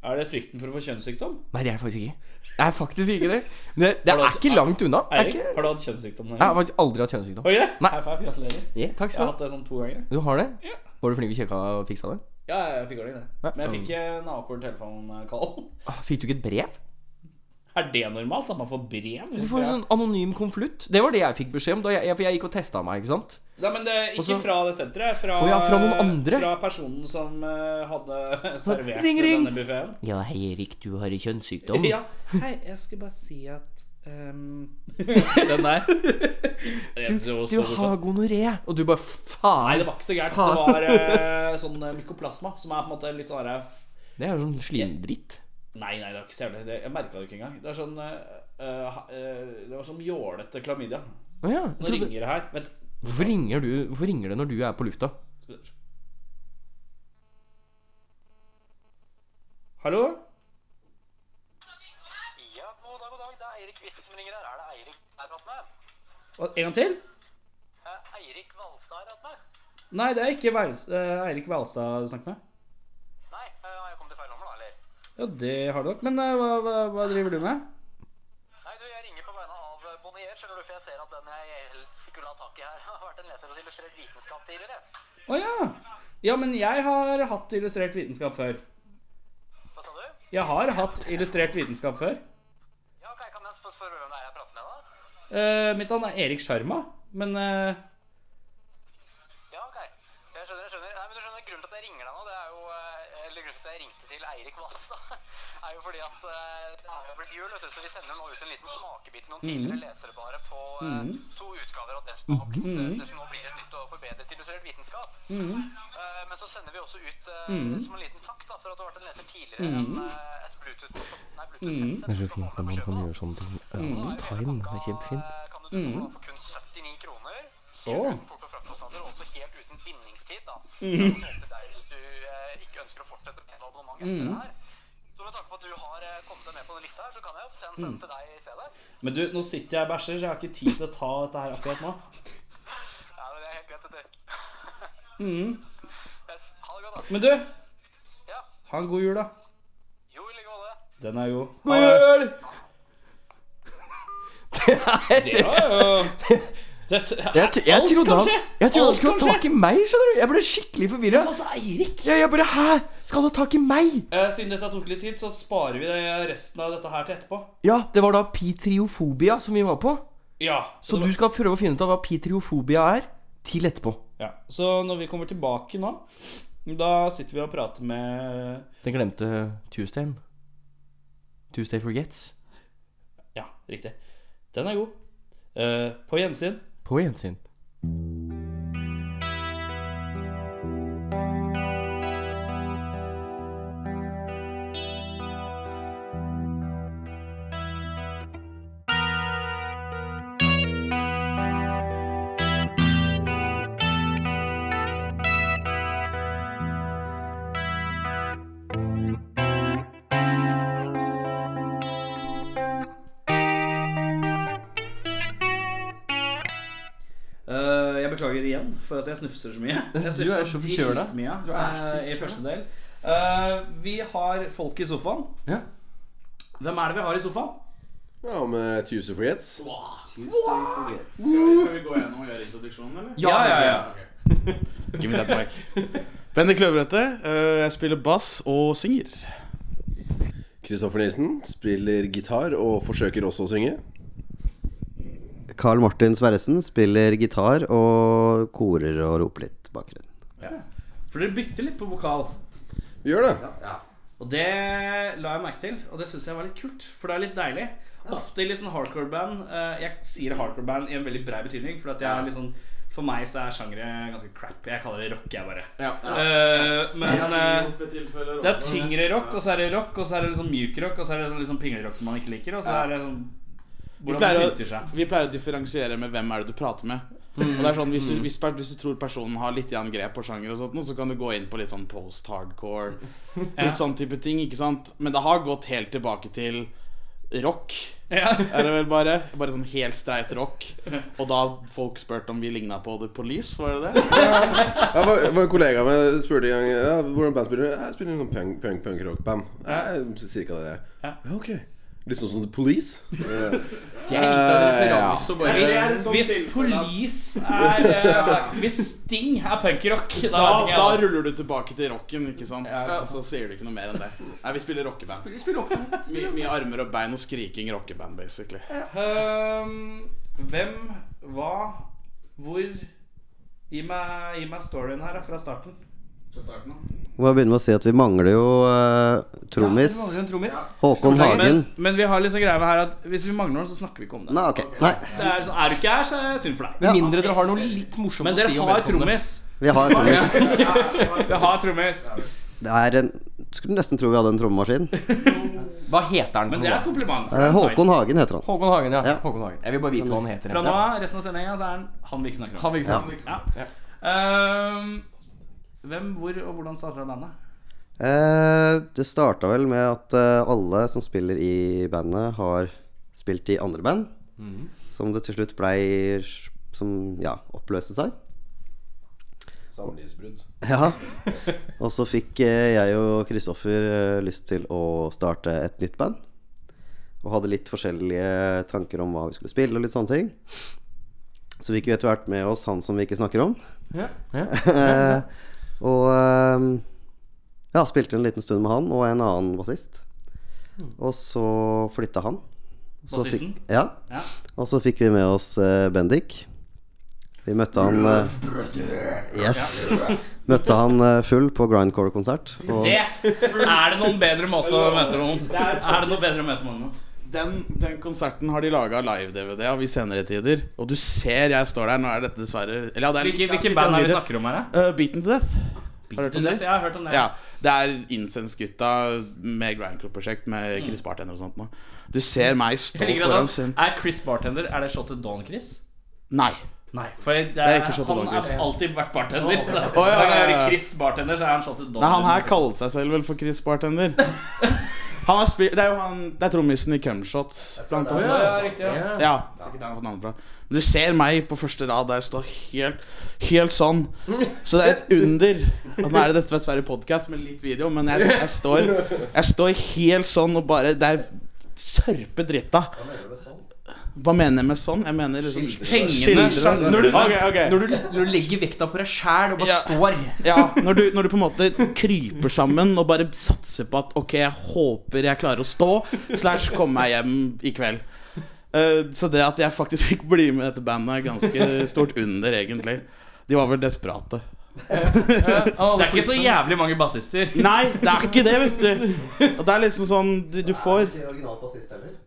er det frykten for å få kjønnssykdom?
Nei, det er det faktisk ikke. Det er faktisk ikke det. Men Det, det
Har du
er
hatt-
ikke langt unna. Det Er
Eirik,
ikke,
har du hatt kjønnssykdom?
jeg har faktisk aldri hatt kjønnssykdom.
Har du det?
Nei.
High five, gratulerer.
Ja,
Jeg
takk
har
skal du ha.
hatt det sånn to ganger.
Du har det?
Ja.
Var du flink til å sjekke og fiksa det?
Ja, jeg fikk ordning, det.
Ja.
Men jeg fikk eh, en avkort telefonkall.
Ah, Fikk du ikke et brev?
Er det normalt? At man får brev?
Du får en sånn anonym konvolutt. Det var det jeg fikk beskjed om. Da jeg, jeg, for jeg gikk og testa meg, ikke sant?
Nei, men det, ikke
Også-
fra det senteret. Fra,
Å ja, fra noen andre?
Fra personen som eh, hadde servert
ring, ring.
denne buffeen.
Ja, hei Erik, du har kjønnssykdom.
Ja. Hei, jeg skulle bare si at ehm, Den der.
Du, du har gonoré. Og du bare
Nei, det
faen.
var ikke så gærent.
Faen.
Det var eh, sånn eh, mykoplasma, som er på en måte litt sånn her, f-
Det er jo sånn slimdritt.
Nei, nei, det var ikke så jævlig. Det- Jeg merka det ikke engang. Det er sånn eh, eh, ha- eh, Det var som jålete klamydia.
Å ja. jeg
Nå
trodde-
ringer det her. Vent.
Hvorfor ringer, du, hvorfor ringer det når du er på lufta?
Hallo?
Ja, god dag, god dag. Det er Eirik Kvisten som ringer her. Er det Eirik jeg har hatt med?
Hva- En gang til?
Eh, Eirik Valstad har hatt med?
Nei, det er ikke Veils- eh, Eirik Hvalstad du snakker med.
Nei, eh, har jeg kommet til feil nummer da, eller?
Ja, det har du nok. Men eh, hva, hva, hva driver du med?
Nei, du, jeg ringer på vegne av eh, Bonnier, skjønner du, for jeg ser at den jeg helst skulle ha tak i her, har vært en leser hos illustrert vitenskap tidligere.
Å ja. Ja, men jeg har hatt illustrert vitenskap før.
Hva sa du?
Jeg har hatt illustrert vitenskap før.
Ja, ok, kan jeg sp- spørre hvem det er jeg prater med, da?
Eh, mitt navn er Erik Sjarma, men eh,
Ja, ok. Jeg skjønner, jeg skjønner. Nei, men du skjønner, grunnen til at jeg ringer deg nå, det er jo eh, Eller grunnen til at jeg ringte til Eirik Valstad, er jo fordi at eh, det har jo blitt jul, vet du, så vi sender nå ut en liten smakebit til noen tidligere lesere bare på eh, to utgaver av det som har blitt eh, det som nå blir et nytt og forbedret illustrert vitenskap.
mhm.
Eh, men så sender vi også ut eh, som en liten takk da, for at du har vært en leser tidligere enn eh, et Bluetooth Nei, Bluetooth
Det er så fint når man kan gjøre sånne ting
Mm.
out of time. Det er kjempefint.
Eh, Kan du
Mm.
tro for kun 79 kroner?
Åh.
Helt uten port- og fraktkostnader, og også helt uten bindingstid, da. Mm. Hvis du eh, ikke ønsker å fortsette med abonnement
Mm.
etter det her. Så med tanke på at du har eh, kommet deg med på den lista her, så kan jeg jo sende
Mm.
den til deg i stedet.
Men du, nå sitter jeg og bæsjer, så jeg har ikke tid til å ta dette her akkurat nå.
Ja, men det er helt greit, dette.
Mm.
Yes. Ha det godt, da.
Men du,
Ja.
ha en god jul, da.
Jo, i like måte.
Den er god.
God jul!
Det var jo det,
Jeg, t- jeg trodde han, jeg trodde han
Alt
skulle
kan
ha tak i meg, skjønner du. Jeg ble skikkelig forvirra.
Altså, Eirik!
Jeg, jeg bare Hæ? Skal du ha tak i meg?
Eh, siden dette tok litt tid, så sparer vi det resten av dette her til etterpå.
Ja, det var da pitriofobia som vi var på.
Ja.
Så
det
du skal prøve å finne ut av hva pitriofobia er, til etterpå.
var- ja. Så når vi kommer tilbake nå, da sitter vi og prater med
Den glemte Tuesdayen. Tuesday forgets.
Ja, riktig. Den er god. Eh, på gjensyn.
På gjensyn.
Eh, jeg beklager igjen for at jeg snufser så mye. Jeg
Du er så forkjøla.
dritmye,
Du er så
eh, i første del. Eh, vi har folk i sofaen.
Ja.
Hvem er det vi har i sofaen?
Ja, med Tuesday Forgets.
Skal vi gå gjennom og gjøre introduksjonen, eller?
Ja, ja, ja.
Give me that mic. Bendik Kløverøtte. eh, jeg spiller bass og synger.
Kristoffer Nielsen spiller gitar og forsøker også å synge.
Carl Martin Sverresen spiller gitar og korer og roper litt bakgrunn.
For dere bytter litt på vokal.
Vi gjør det.
Og det la jeg merke til, og det syns jeg var litt kult. For det er litt deilig. Ofte i litt sånn hardcore band eh, Jeg sier hardcore band i en veldig brei betydning, for at jeg er litt sånn for meg så er sjangere ganske crap. Jeg kaller det rock, jeg bare. Eh, men eh, Det er tyngre rock, og så er det rock, og så er det liksom mjuk rock, og så er det sånn liksom pinglerock som man ikke liker, og så er det sånn
Vi
Hvordan
pleier,
man pynter
å,
seg. Mm.
vi pleier å differensiere med hvem er det du prater med. Og det er sånn, hvis du, hvis, per- hvis du tror personen har litt grann grep på sjanger, og sånt, nå, så kan du gå inn på litt sånn post-hardcore. Litt sånn type ting, ikke sant? Men det har gått helt tilbake til rock.
Ja.
Er det vel bare Bare sånn helt streit rock. Og da folk spurte om vi ligna på The Police, var det det?
Jeg var, var en kollega av meg spurte en gang ja, hvordan band spiller du? Jeg spiller noen punk, punk, punk rock band. Cirka
Ja.
det. Ja, ok. Litt sånn som The Police? Eh,
Det er litt av en
eh, ja.
referanse bare
Hvis,
er et sånt
hvis
tilfelle at-
Police er eh, Hvis Sting er punkrock, da,
Da,
vet ikke jeg,
da
altså.
ruller du tilbake til rocken, ikke sant? Og så sier du ikke noe mer enn det. Nei, vi spiller rockeband. Mye mye armer og bein og skriking rockeband, basically.
Ehm, Hvem, hva, hvor Gi meg, gi meg storyen her da, fra starten.
Fra starten av.
Må jeg begynne med å si at vi mangler jo eh,
Ja,
trommis.
vi mangler en trommis.
Håkon Hagen.
Men, men vi har liksom greia med her at hvis vi mangler noen, så snakker vi ikke om det.
Nei, ok. Nei,
Det er, sånn, er du ikke her, så er det synd for deg.
Med mindre dere har noe litt morsomt
Men
å
dere
si om
har
vedkommende.
trommis.
vi har trommis.
Dere har trommis.
Det er en Skulle nesten tro vi hadde en trommemaskin.
Hva heter han?
Men det er et kompliment.
Eh, Håkon Hagen heter han.
Håkon Hagen, ja.
Ja.
Håkon Hagen. Jeg vil bare vite hva han heter.
Fra nå av, resten av sendinga, så er han han vi ikke snakker om.
Han vil ikke snakke.
Ja. Ehm, hvem, hvor og hvordan starter bandet?
Eh, det starta vel med at eh, alle som spiller i bandet, har spilt i andre band. Som det til slutt blei Som ja, oppløste seg.
Samlivsbrudd.
Ja. Og så fikk eh, jeg og Kristoffer eh, lyst til å starte et nytt band. Og hadde litt forskjellige tanker om hva vi skulle spille og litt sånne ting. Så fikk vi etter hvert med oss han som vi ikke snakker om.
Ja. Ja.
Eh, og eh, ja, spilte en liten stund med han og en annen bassist.
Mm.
Og så flytta han. Så fikk-
Bassisten?
ja.
Ja.
Og så fikk vi med oss eh, Bendik. Vi møtte han eh, Yes. Møtte han eh, full på grindcore-konsert. Og
Det! Er det noen bedre måte å møte noen? Er det noe bedre å møte noen nå?
Den, den konserten har de laga live-DVD av i senere tider. Og du ser jeg står der. Nå er dette dessverre Eller ja, det er
Hvilke,
litt-
hvilke
litt
band er det vi
videre.
snakker om her? da?
Uh, Beaten to Death. Har du hørt om det?
Jeg har hørt om det.
Ja. Det er Incense-gutta med Grindclub-prosjekt med Chris Bartender og sånt nå. Du ser meg stå
Jeg liker at
foran
han-
scenen
Er Chris bartender? Er det shot til Don Chris?
Nei.
Nei, for det er,
Det er ikke shot til Don
han
Chris.
har alltid vært bartender. Så
Å,
Hver
ja,
gang jeg
ja, ja.
hører Chris bartender, så er han shot til Don.
Nei, han her kaller seg selv vel for Chris Bartender. Han har spilt Det er jo han Det er trommisen i Cumshots, blant annet.
ja, ja, riktig, ja.
Ja, sikkert der han har fått navnet fra. Men du ser meg på første rad der jeg står helt, helt sånn. Så det er et under. Og nå er det dette dessverre podkast med litt video, men jeg, jeg, står, jeg står helt sånn og bare Det er sørpe dritta. Hva mener jeg med sånn? Jeg mener liksom
Hengende
skildre-
når du-
Ok, ok.
Når, du, når du legger vekta på deg sjæl og bare
Ja.
står
Ja, når du, når du på en måte kryper sammen og bare satser på at Ok, jeg håper jeg klarer å stå, slash komme meg hjem i kveld. Eh, så det at jeg faktisk fikk bli med i dette bandet, er ganske stort under, egentlig. De var vel desperate.
Det er ikke så jævlig mange bassister.
Nei, det er ikke det, vet du. Og det er liksom sånn Du, du får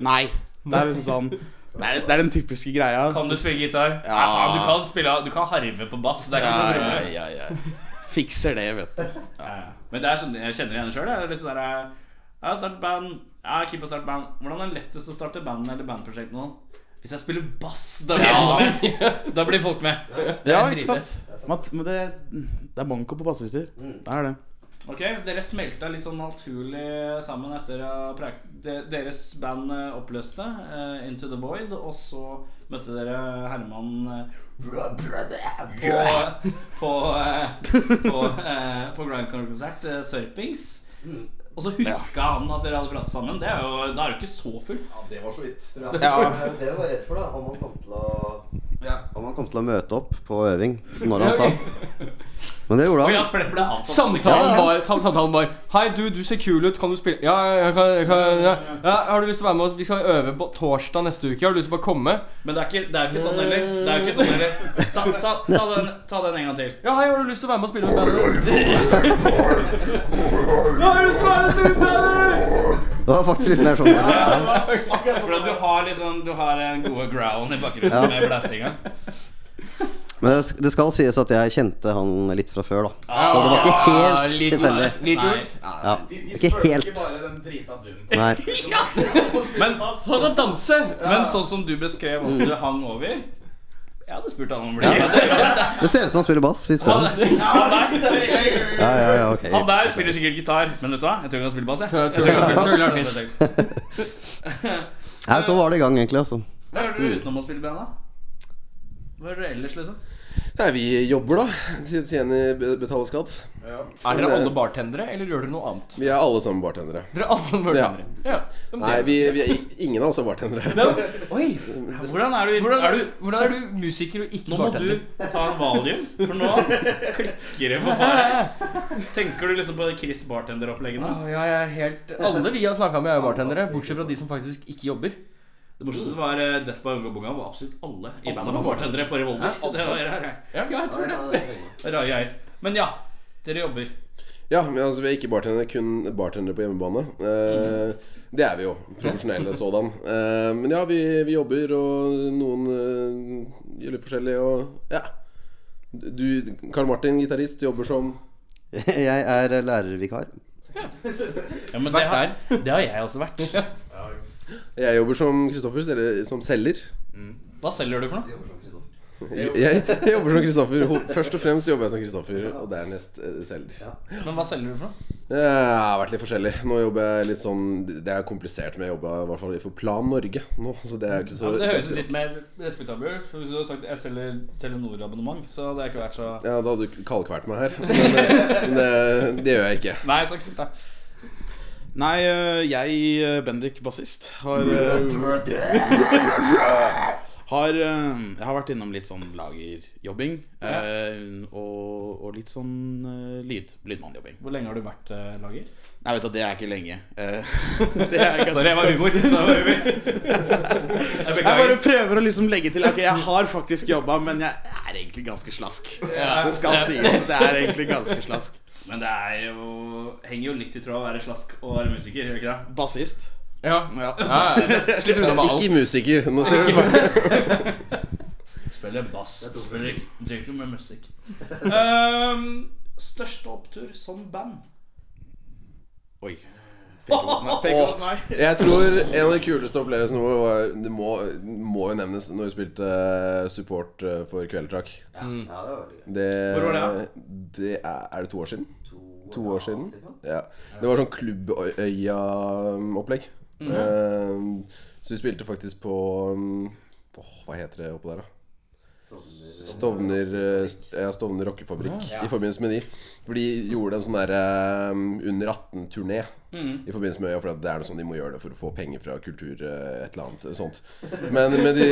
Nei. Det er liksom sånn Det er, det er den typiske greia.
Kan du spille gitar? Ja. Nei, faen, du kan spille Du kan harve på bass. Det er ikke
Ja,
noe
ja,
problem.
ja, ja. Fikser det, vet du.
Ja, ja. Men det er sånn, jeg kjenner igjen sjøl. Jeg er litt sånn der, jeg har startet band. Jeg er keen på å starte band. Hvordan er det lettest å starte band eller bandprosjekt nå? Hvis jeg spiller bass, da blir, folk med. da blir folk med.
Ja, ikke sant? Matt, men det, det er manko på bassister. Det er det.
Ok, så Dere smelta litt sånn naturlig sammen etter at pra- de- deres band eh, oppløste, eh, Into the Void, og så møtte dere Herman eh, på, på, eh, på, eh, på Grand Corn-konsert, eh, Sørpings. Og så huska han at dere hadde pratet sammen. Det er jo, da er du ikke så full.
Det var så vidt.
Det jeg var redd for, da, om han kom til å Om han kom til å møte opp på øving, som når han sa. Men det gjorde
Oi, ja,
han.
for det ble han på
Samtalen
Ja, ja.
var, tam- samtalen var Hei, du, du ser kul ut. Kan du spille Ja, jeg kan, jeg kan ja. ja, Har du lyst til å være med oss? Vi skal øve på torsdag neste uke. Har du lyst til å bare komme?
Men det er ikke, det er ikke sånn heller. Det er jo ikke sånn heller. Ta, ta, ta, den, ta den en gang til.
Ja, hei, har du lyst til å være med og spille med bandet? Ja, har du lyst til å være med og spille med bandet?
Det var faktisk litt mer sånn. Ja.
For at du har liksom Du har den gode growlen i bakgrunnen med blæstinga.
Men det sk- det skal sies at jeg kjente han litt fra før, da. Så det var ikke
Ja,
helt
litt
tilfeldig.
juks, Litt
Nei.
juks. Ja.
Ja. Ikke helt.
bare den drita dunen.
Nei.
Men,
Han kan danse!
men sånn som du beskrev hvordan du hang over Jeg Jeg hadde spurt han om å bli med.
Det ser ut som han spiller bass. Vi spør ham. Ja, ja, ja, ok.
Han der spiller sikkert gitar, men vet du hva? Jeg tror ikke han spiller bass. jeg.
Jeg tror jeg tror det er fisk.
Nei, så var det i gang, egentlig. altså
Hva gjør dere utenom å spille i band, da? Hva gjør dere ellers, liksom?
Nei, vi jobber, da. Tjener, betaler skatt.
Er dere alle bartendere, eller gjør dere noe annet?
Vi er alle sammen bartendere.
Dere er alle som bartendere. Ja. men
Nei,
det-
vi, vi er, ik- ingen av oss er bartendere.
Oi!
Hvordan er du,
Hvordan er,
er
du,
du
hvordan er du musiker og ikke
Nå må du
bartender?
ta en valium, for nå klikker det for faen. Tenker du liksom på Chris Bartender-opplegget nå?
Å, ja, jeg er helt Alle vi har snakka med, er jo bartendere. Bortsett fra de som faktisk ikke jobber.
Det morsomste var eh, Death by Unga Bunga var absolutt alle i bandet var bartendere på Revolver. Det var det her, jeg. Ja, jeg tror det. Det er Rare greier. Men ja, dere jobber.
Ja, men altså, vi er ikke bartendere, kun bartendere på hjemmebane. Eh, det er vi jo. Profesjonelle sådan. Eh, men ja, vi, vi jobber, og noen eh, gjør litt forskjellig, og ja. Du, Karl Martin, gitarist, jobber som
Jeg er lærervikar.
Ja, men det har, det har jeg også vært.
Jeg jobber som Kristoffer, eller som selger.
Hva selger du for noe?
Jeg, jeg jobber som Kristoffer. Ho- Først og fremst jobber jeg som Kristoffer, og dernest eh, selger.
Men hva selger du for noe?
Det har vært litt forskjellig. Nå jobber jeg litt sånn Det er komplisert, men jeg jobber i hvert fall for Plan Norge nå. Så det er ikke så
Ja, men det høres litt mer respektabelt ut. for Hvis du hadde sagt jeg selger Telenor-abonnement, så hadde jeg ikke vært så
Ja, da hadde du kaldkvært meg her. Men, eh, men det, det gjør jeg ikke.
Nei, så kult, da.
Nei, øh, jeg, øh, Bendik bassist, har øh, Har øh, Jeg har vært innom litt sånn lagerjobbing. øh, Og, og litt sånn øh, lyd, lydmannjobbing.
Hvor lenge har du vært eh, lager?
Nei, vet du, det er ikke lenge. Eh, det er ikke-
Sorry, jeg var humor. Så jeg var humor. Jeg
Jeg bare
beklager.
prøver å liksom legge til Ok, jeg har faktisk jobba, men jeg er egentlig ganske slask. Det skal sies at jeg er egentlig ganske slask.
Men det er jo, henger jo litt i tråd å være slask og være musiker, gjør det ikke det?
Bassist.
Ja.
Ja.
ja, ja. Slipper unna med alt.
Ikke musiker. Nå ser vi bare
Spiller bass. Spiller drinker med musikk. Ehm, største opptur som band?
Oi. Peker mot meg, peker mot meg.
Jeg tror en av de kuleste opplevelsene våre var Det må, må jo nevnes når vi spilte eh, support eh, for Kvelertak. Det,
Hvor var det,
det er, er det to år siden? To år siden. Ja. Det var sånn Klubbøya-opplegg.
Mhm.
Eh, så vi spilte faktisk på mm, åh, Hva heter det oppå der, da? Stovner eh, st- ja, Stovner rockefabrikk i forbindelse med de. For de gjorde en sånn der eh, under 18-turné i forbindelse med øya. For det er noe sånn de må gjøre det for å få penger fra kultur eh, et eller annet eh, sånt. Men, men de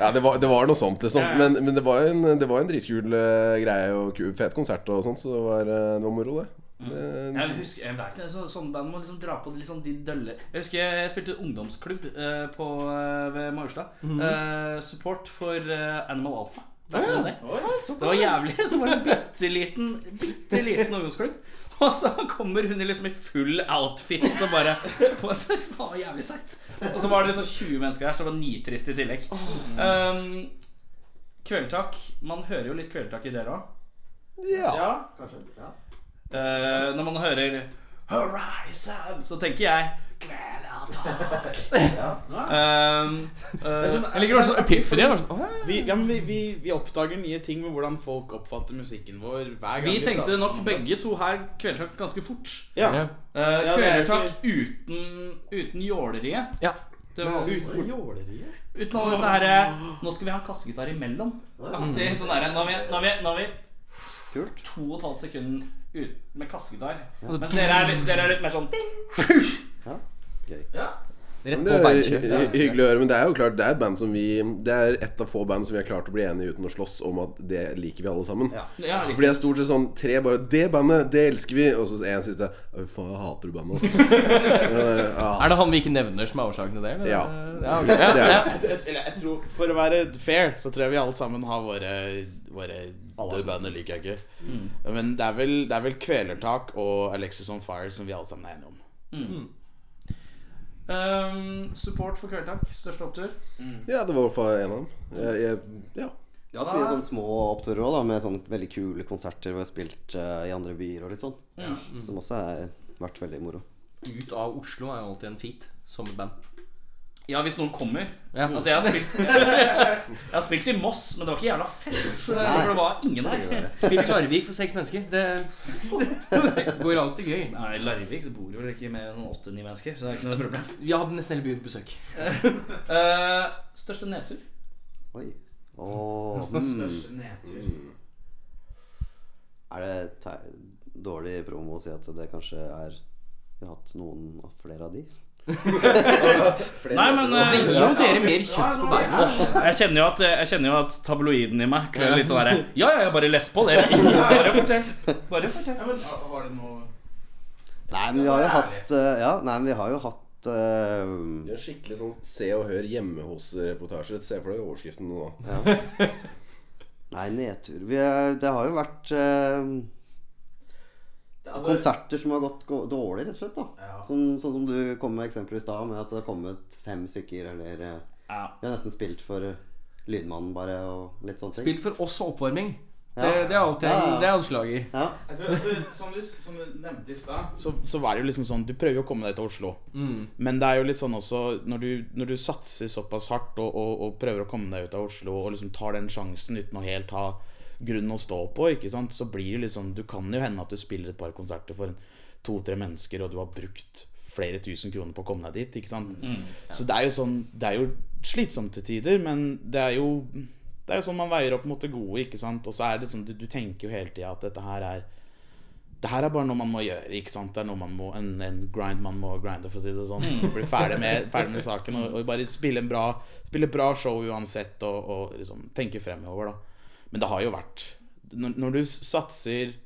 Ja, det var, det var noe sånt, liksom. Men, men det var en, det var en dritkul eh, greie og ku- fet konsert og sånt, så det var, eh, det var moro, det. Det-
Jeg husker, jeg vet ikke, så, Sånne band må liksom dra på litt sånn de dølle Jeg husker jeg spilte ungdomsklubb eh, på, eh, ved Majorstad. Eh, support for eh, Animal Alpha. Det var, det. det var jævlig. Så var det en bitte liten, bitte liten ungdomsklubb. Og så kommer hun i liksom i full outfit og bare Det var jævlig seigt. Og så var det liksom 20 mennesker her, så det var nitrist i tillegg. Um, Kveldtak. Man hører jo litt Kveldtak i dere òg. Eh, når man hører Horizon, så tenker jeg Kvelertak. Ehm, eh,
Jeg liker også sånn epiphany. jeg var sånn, «Åh,
Vi, ja, men vi, vi, vi oppdager nye ting med hvordan folk oppfatter musikken vår. hver gang
vi tenkte
prater
nok
om det.
begge to her Kvelertak ganske fort.
Ja.
Ja.
Uh,
det er
kvelertak uten, uten jåleriet.
Ja.
Det var,
Uten jåleriet?
uten alle disse herre Nå skal vi ha en kassegitar imellom. Aktig, sånn derre, nå har vi, nå har vi, nå har vi
Kult.
to og et halvt sekund ut, med kassegitar. Mens dere er, litt- dere er litt mer sånn
Rett
Men
på
Det er hy-
beinkjøret.
hy- hyggelig å høre, men det er jo klart Det er et band som vi Det er et av få band som vi har klart å bli enige uten å slåss om at det liker vi alle sammen.
ja,
For det er stort sett sånn tre bare 'Det bandet, det elsker vi', og så en siste «Å, 'Faen, jeg hater du bandet, ass'.
Er det han vi ikke nevner, som er årsaken til det? eller?
Ja.
ja, ok. ja,
Det er
ja.
Jeg, eller jeg tror, For å være fair, så tror jeg vi alle sammen har våre, våre Døde bandet liker jeg ikke.
Mm.
Men det er, vel, det er vel Kvelertak og Alexis on Fire som vi alle sammen er enige om.
Ehm, Support for Kvelertak. Største opptur.
Ja, det var i hvert fall en av dem. Jeg, jeg, ja.
Jeg har hatt mye sånne små oppturer også, da, med sånne veldig kule konserter hvor jeg har spilt eh, i andre byer og litt sånn. Som også har vært veldig moro.
Ut av Oslo er jo alltid en feat. Som et band.
Ja, hvis noen kommer.
Ja.
Altså, jeg har, spilt, jeg har spilt i Moss, men det var ikke jævla fett. For det var ingen der.
Spiller Larvik for seks mennesker. Det, det går alltid gøy.
Nei, I Larvik så bor det vel ikke mer enn sånn åtte-ni mennesker. Så det er ikke noe problem.
Vi hadde nesten hele byen på besøk.
Eh, største nedtur?
Oi. Åh, mm. Er det te dårlig promo å si at det kanskje er Vi har hatt noen av flere av de?
Nei, men eh,
Gir jo dere mer kjøtt på beina.
jeg, kjenner jo at, jeg kjenner jo at tabloiden i meg klør litt sånn derre Ja, ja, jeg bare les på det. Bare fortell. Bare fortell.
men var det noe
Nei, men vi har jo hatt eh, Ja, nei, men vi har jo hatt eh,
Det er skikkelig sånn Se og Hør hjemme hos-reportasje. Se for deg overskriften nå.
Nei, nedtur vi, er- Det har jo vært eh,
altså-
konserter som har gått gå- dårlig, rett og slett. da som, Sånn som du kom med eksempler i stad, med at det har kommet fem stykker, eller eh,
Ja.
Vi har nesten spilt for eh, Lydmannen, bare, og litt sånne ting.
Spilt for oss og oppvarming. Det,
Ja.
det er alltid
Ja, ja.
en, det er en slager.
Ja.
Jeg tror, jeg tror, Altså, som, du, som du nevnte i stad, så, så var det jo liksom sånn Du prøver jo å komme deg til Oslo. Men det er jo litt sånn også Når du, når du satser såpass hardt og, og, og prøver å komme deg ut av Oslo og liksom tar den sjansen uten å helt ha grunn å stå på, ikke sant, så blir det litt sånn Du kan jo hende at du spiller et par konserter for to-tre mennesker, og du har brukt flere tusen kroner på å komme deg dit, ikke sant. Så det er jo sånn Det er jo slitsomt til tider, men det er jo det er jo sånn man veier opp mot det gode, ikke sant. Og så er det sånn, du, du tenker jo hele tida at dette her er det her er bare noe man må gjøre. ikke sant? Det er noe man må, en, en grind man må grinde, for å si det sånn. Bli ferdig med, ferdig med saken og, og bare spille, en bra, spille et bra show uansett og, og liksom tenke fremover, da. Men det har jo vært Når, når du satser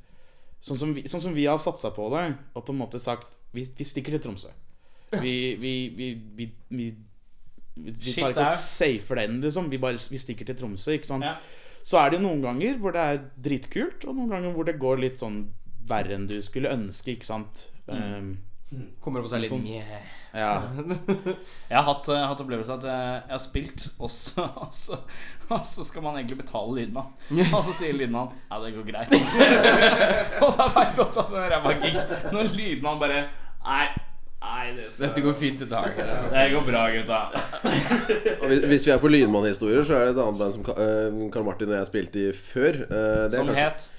sånn som, vi, sånn som vi har satsa på det, og på en måte sagt Vi, vi stikker til Tromsø. Vi, vi, vi, vi, vi, vi, vi
Shit,
tar ikke og
der.
safer den, liksom. Vi, bare, vi stikker til Tromsø, ikke sant.
Ja.
Så er det jo noen ganger hvor det er dritkult, og noen ganger hvor det går litt sånn verre enn du skulle ønske, ikke sant. Um,
Kommer opp og sier litt
Sånn.
mjau.
ja.
Jeg har hatt, eh, hatt opplevelse at jeg, jeg har spilt, og så, og, så, og så skal man egentlig betale lydmann. Og så sier lydmann Ja, det går greit. og da veit du at det er en ræva gig. Når lydmann bare Nei, nei det, skal,
Dette går fint i dag.
det går bra, gutta.
Og hvis, hvis vi er på Lynmann-historier, så er det et annet band som Ka- eh, Karl Martin og jeg spilte i før. Eh, det er
Som
kanskje-
het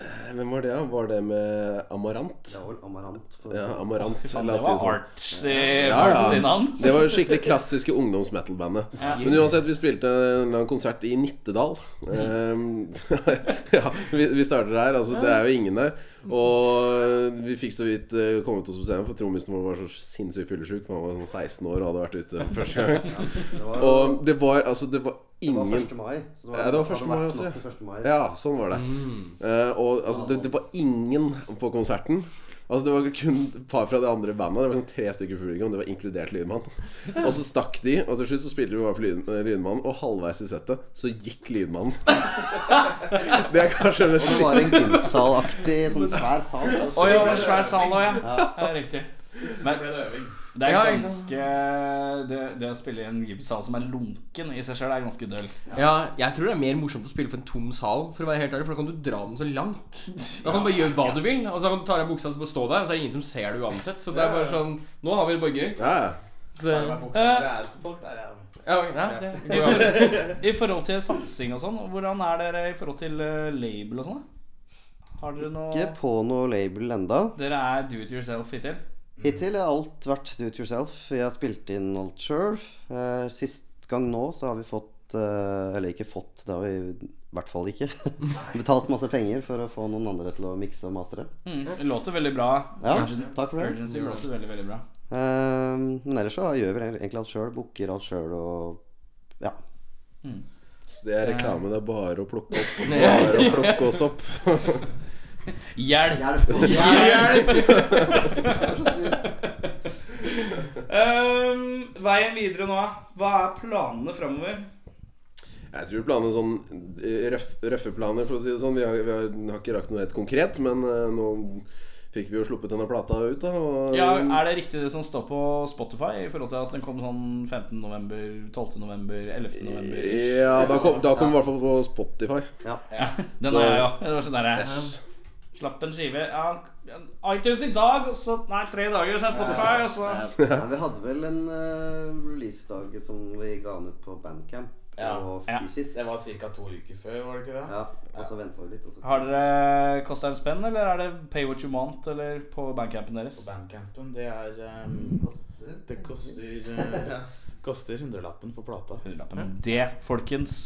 Eh, Hvem var det, da? Var det med Amarant?
Det var vel Amarant. på den
Ja,
tiden.
Amarant.
Det
La oss si det
var
sånn.
artsy
Ja, ja.
artsy navn.
Det var det skikkelig klassiske ungdoms-metal-bandet. Men uansett, vi spilte en eller annen konsert i Nittedal. Ehm, ja, vi, vi starter her. Altså, det er jo ingen der. Og vi fikk så vidt eh, kommet oss på scenen, for trommisen vår var så sinnssykt fyllesyk. for Han var sånn 16 år og hadde vært ute første gang.
Det var,
Og det var altså Det var
det var
ingen
1. mai. Så det var,
Ja, det var
hadde
1. mai
vært
også,
natt
ja.
til 1. mai.
Ja, sånn var det. Eh, og altså, det, det var ingen på konserten. Altså Det var kun et par fra de andre bandene. Det var sånn tre stykker i publikum, det var inkludert Lydmann. Og så stakk de, og til slutt så spilte vi bare for lyd, Lydmann, og halvveis i settet så gikk Lydmannen. det er kanskje det
Det
mest
var en gymsalaktig, sånn svær sal.
Oi, det var en svær sal òg, ja. Det er riktig. Men det er
Ja, ikke
ganske det, det å spille i en gymsal som er lunken i seg sjøl, er ganske døll.
Ja, jeg tror det er mer morsomt å spille for en tom sal, for å være helt ærlig, for da kan du dra den så langt. Da kan du bare gjøre hva du vil, og så kan du ta deg buksa og så bare stå der, og så er det ingen som ser det uansett. Så det er bare sånn Nå har vi det bare gøy.
Ja, ja.
Ja, nei, det, det går bra.
I forhold til satsing og sånn, hvordan er dere i forhold til eh, label og sånn? da? Har dere noe
Ikke på noe label enda.
Dere er do it yourself hittil?
Hittil har alt vært do it yourself. Jeg har spilt inn alt sjøl. Eh, Sist gang nå så har vi fått eh, Eller ikke fått, det har vi i hvert fall ikke. Betalt masse penger for å få noen andre til å mikse og mastre.
Mm. Det låter veldig bra.
Ja,
Urgen-
takk for det.
Urgency låter veldig, veldig bra.
Eh, Men ellers så gjør vi egentlig alt sjøl. Booker alt sjøl og ja.
Så det er reklame. Det er bare å plukke opp. Bare å plukke oss opp.
Hjelp!
Hjelp oss!
Øhm, Ehm, veien videre nå, hva er planene framover?
Jeg tror planene sånn eh, røff, røffe planer, for å si det sånn. Vi har, vi har, har ikke rakt noe helt konkret, men eh, nå fikk vi jo sluppet denne plata ut, da. Og,
Ja,
Um.
er det riktig det som står på Spotify, i forhold til at den kom sånn 15. november, 12. november, 11. november?
Ja, da kom, da kom vi i hvert fall på Spotify.
Ja.
Den
Så-
er jeg, ja. Det var sånn der, Slapp en skive ja, iTunes i dag, og så Nei, tre dager, så er Spotify, og så
Ja, vi hadde vel en eh, releasedag som vi ga den ut på Bandcamp.
Ja.
Og
Ja.
fysisk.
Det var ca. to uker før, var det ikke det?
Ja, og så venta vi litt, og så
Har dere kosta en spenn, eller er det pay what you want eller på bandcampen deres?
På bandcampen. Det er ehm, Det koster eh, Koster hundrelappen for plata.
Hundrelappen. Det, folkens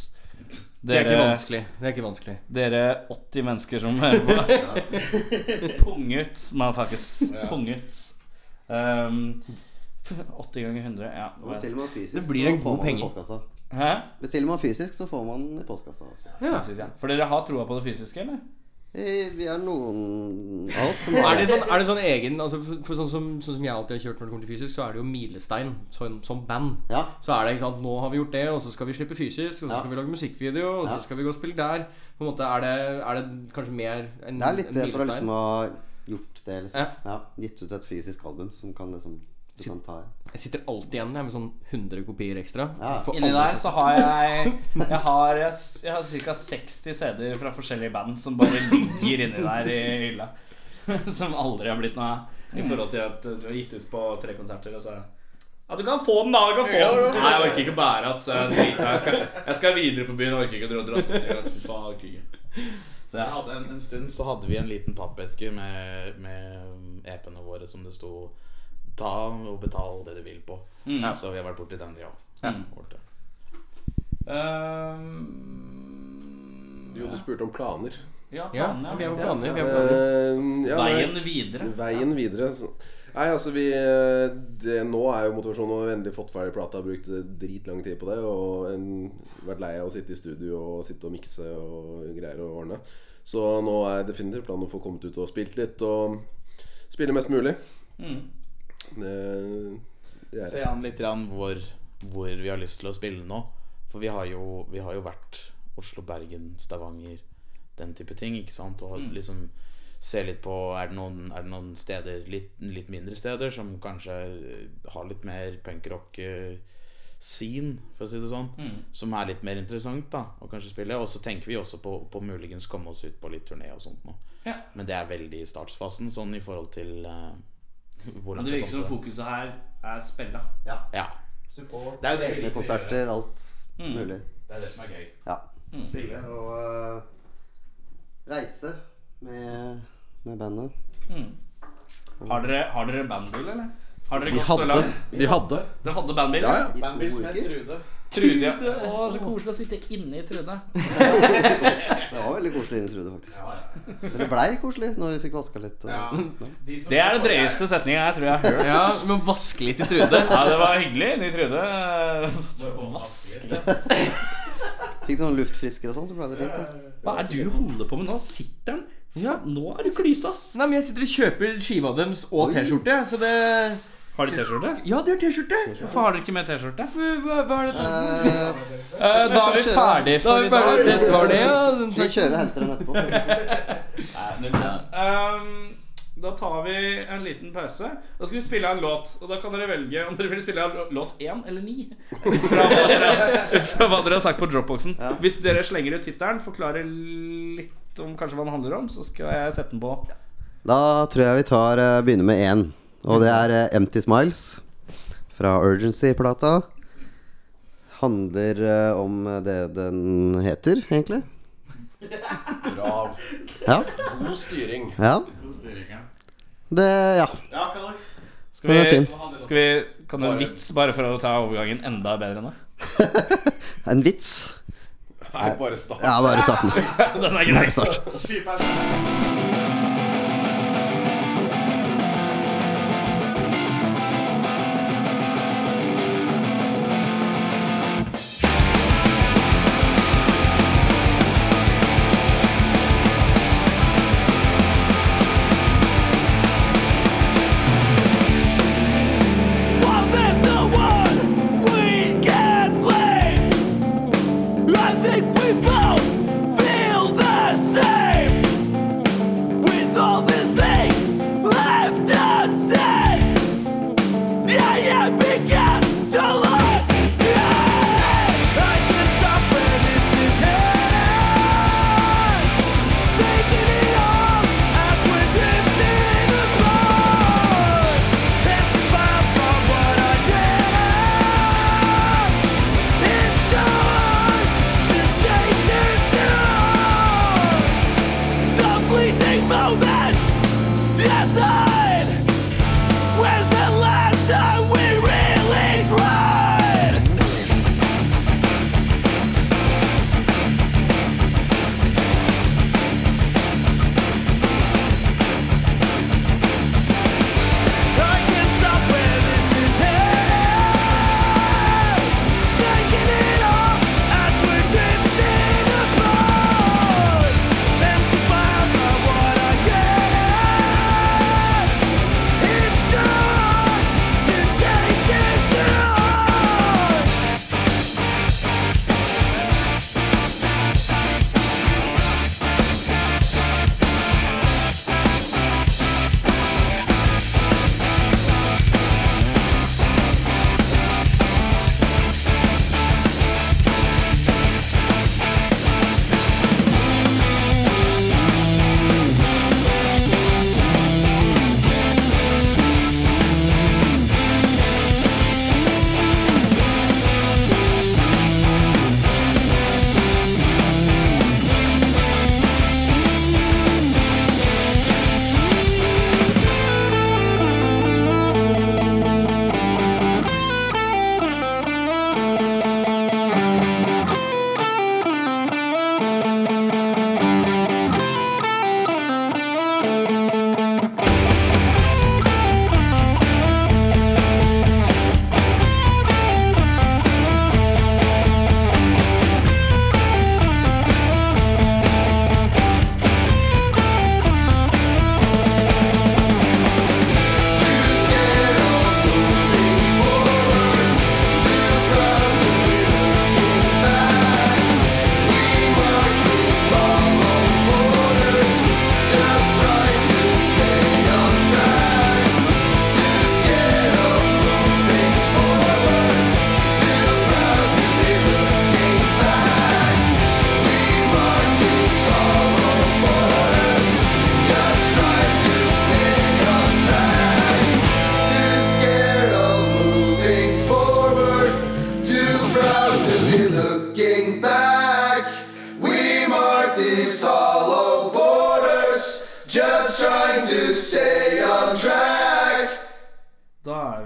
Det er ikke
dere-
vanskelig. Det er ikke vanskelig.
Dere 80 mennesker som hører på. Pung ut, motherfuckers. Pung ut. Um, 80 ganger 100, ja.
Og Bestiller man fysisk,
Det blir en
så
god
får man det i
penge.
postkassa.
Hæ?
Bestiller man fysisk, så får man den i postkassa. Også.
Fysisk, ja. For dere har troa på det fysiske, eller?
Eh, Vi er noen av oss som
Er det sånn, er det sånn egen altså for, for sånn, som, sånn som jeg alltid har kjørt når det kommer til fysisk, så er det jo milestein som, som band.
Ja.
Så er det ikke sant, nå har vi gjort det, og så skal vi slippe fysisk, og så
Ja.
skal vi lage musikkvideo, og så
Ja.
skal vi gå og spille der. På en måte er det, er det kanskje mer en
Det er litt
en
det for å
milestein?
liksom ha gjort det, liksom.
Ja.
Ja. Gitt ut et fysisk album som kan liksom du kan ta
Jeg sitter alltid igjen jeg, med sånn 100 kopier ekstra.
Ja.
For
Inni
alle
der så har jeg Jeg har, jeg har ca. 60 CD-er fra forskjellige band som bare ligger inni der i hylla. Som aldri har blitt noe av. I forhold til at du har gitt ut på tre konserter, og så Ja, du kan få den, da! Du kan få den! Nei, jeg orker ikke å bære, ass. Jeg, driter. jeg, skal, jeg skal videre på byen. Jeg orker ikke å dra drasse til. ass. Fy faen, jeg orker ikke. Så
Jeg
jeg,
hadde en, en stund så hadde vi en liten pappeske med, med EP-ene våre som det sto 'Ta og betal det du vil' på.
Mm, ja.
Så vi har vært borti den, ja.
Mm.
Borte.
Ehm, Øhm,
Jo, du spurte om planer.
ja,
Ja,
faen,
vi
ja.
har planer. Vi har planer.
Eh, ja, nei.
Veien videre.
Veien videre så. Nei, altså vi eh, det, Nå er jo motivasjonen å ha endelig fått ferdig plata. Brukt dritlang tid på det. Og en, vært lei av å sitte i studio og sitte og mikse og greier og ordne. Så nå er definitivt planen å få kommet ut og spilt litt. Og spille mest mulig.
Mm.
Det, det er
Se an litt grann hvor, hvor vi har lyst til å spille nå. For vi har jo, vi har jo vært Oslo, Bergen, Stavanger, den type ting. ikke sant? Og
Mm.
liksom se litt på Er det noen, er det noen steder, litt, litt mindre steder, som kanskje har litt mer punkrock-scene, for å si det sånn.
Mm.
Som er litt mer interessant da, å kanskje spille. Og så tenker vi også på, på muligens komme oss ut på litt turné og sånt nå.
Ja.
Men det er veldig i startfasen, sånn i forhold til eh, hvor
Men det
langt vi
virker som
kommer.
fokuset her er spilla.
Ja. Det er jo det vi
egne
liker å gjøre.
konserter, alt
Mm.
mulig.
Det er det som er gøy.
Ja. Spille og eh, reise med, med bandet.
Har dere, har dere bandbil, eller? Har dere
Vi
gått så
hadde.
langt?
Vi hadde.
Dere hadde bandbil?
Ja,
eller?
ja.
I to uker.
Trude, ja. Å, så koselig å sitte inne i Trude.
Det var veldig koselig inni Trude, faktisk. Eller blei koselig når vi fikk vaska litt. Og,
Det er den drøyeste setninga jeg tror jeg har hørt.
Ja, vi må vaske litt i Trude.
Ja, det var hyggelig inne i Trude. Vaske
Fikk sånn luftfrisker og sånn, så ble det fint. Da.
Hva er det du holder på med nå? Sitter den? Ja, nå er du klyse, ass.
Nei, men jeg sitter og kjøper skiva deres og T-skjorte, så det
Har de T-skjorte?
Ja, de har T-skjorte!
Hvorfor har dere ikke med T-skjorte?
Hva, hva er det
Eh,
Eh, da er vi ferdig
Da er
for
vi
i
bare
dag.
Dette var det, ja.
vi kjører og henter den etterpå.
Nei, null stress. Ehm, da tar vi en liten pause. Da skal vi spille en låt. Og da kan dere velge om dere vil spille en låt én eller ni. Ut fra hva dere, ut fra hva dere har sagt på dropboxen. Hvis dere slenger ut tittelen, forklarer litt om kanskje hva den handler om, så skal jeg sette den på.
Da tror jeg vi tar, eh, begynner med én. Og det er eh, Empty Smiles fra Urgency-plata. Handler eh, om det den heter, egentlig.
Bra.
Ja.
God styring.
ja. Det Ja.
Skal
Den er
vi,
fin.
skal vi Kan du en vits bare for å ta overgangen enda bedre nå?
En vits.
Nei, bare start.
Ja, bare starten.
Den er grei.
Start.
Taking it all, I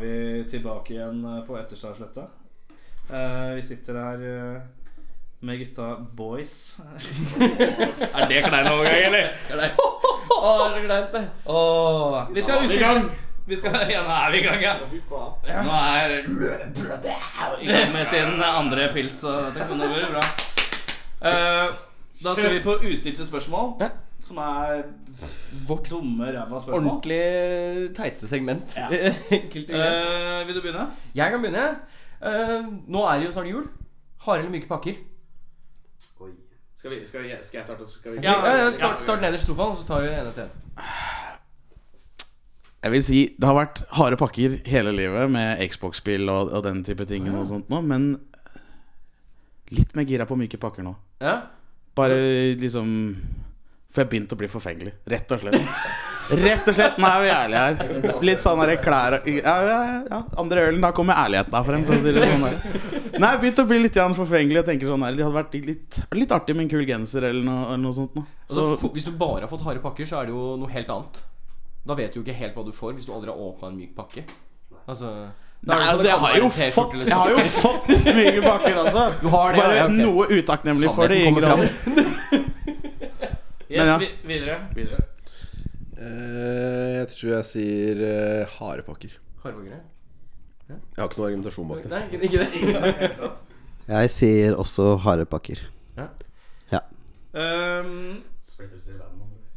vi tilbake igjen eh, på Etterstadsletta. Eh, vi sitter her eh, med gutta boys. er det klein overgang, eller? Å, det er kleint, det. Åh. Vi skal usikker- Vi skal, ja, nå er vi i gang, ja. Ja. Nå er i gang med sin andre pils og dette. Men det blir bra. Eh, da skal vi på ustilte spørsmål,
Ja.
som er
Vårt
dumme ræva spørsmål.
ordentlig teite segment.
Ja.
Enkelt og greit.
Eh, vil du begynne?
Jeg kan begynne. Eh, nå er det jo snart jul. Harde eller myke pakker?
Skal, vi, skal, jeg, skal jeg starte? Skal vi?
Ja,
Ja,
ja, start, start nederst i sofaen, og så tar vi den ene til.
Jeg vil si det har vært harde pakker hele livet med Xbox-spill og, og den type ting. Og sånt nå, men litt mer gira på myke pakker nå.
Ja?
Bare liksom For jeg begynte å bli forfengelig. Rett og slett. Rett og slett, Nå er vi ærlige her. Litt sånn der klær og ja, ja, ja. Andre ølen, da kommer ærligheten frem. For å si det sånn der. Nei, jeg begynte å bli litt grann forfengelig. Jeg tenker sånn der, Det hadde vært litt, litt artig med en kul genser eller noe, eller noe sånt. Nå.
Altså, fo- hvis du bare har fått harde pakker, så er det jo noe helt annet. Da vet du jo ikke helt hva du får hvis du aldri har åpna en myk pakke. Altså, da er
Nei,
det
altså,
sånn
jeg
at
har
det
jo
kommer en
fått
T-skjorte eller
Jeg har jo
sånn.
fått mye baker, altså.
Du har det, ja,
Bare
ja, ok.
noe utakknemlig for det i
Sannheten kommer
grader.
fram.
Yes,
Men ja.
vi, videre.
Eh, jeg tror jeg sier eh, harepakker.
Harde pakker, ja.
Jeg har ikke noen argumentasjon bak det.
Nei, ikke- ikke det.
Jeg sier også harepakker.
Um,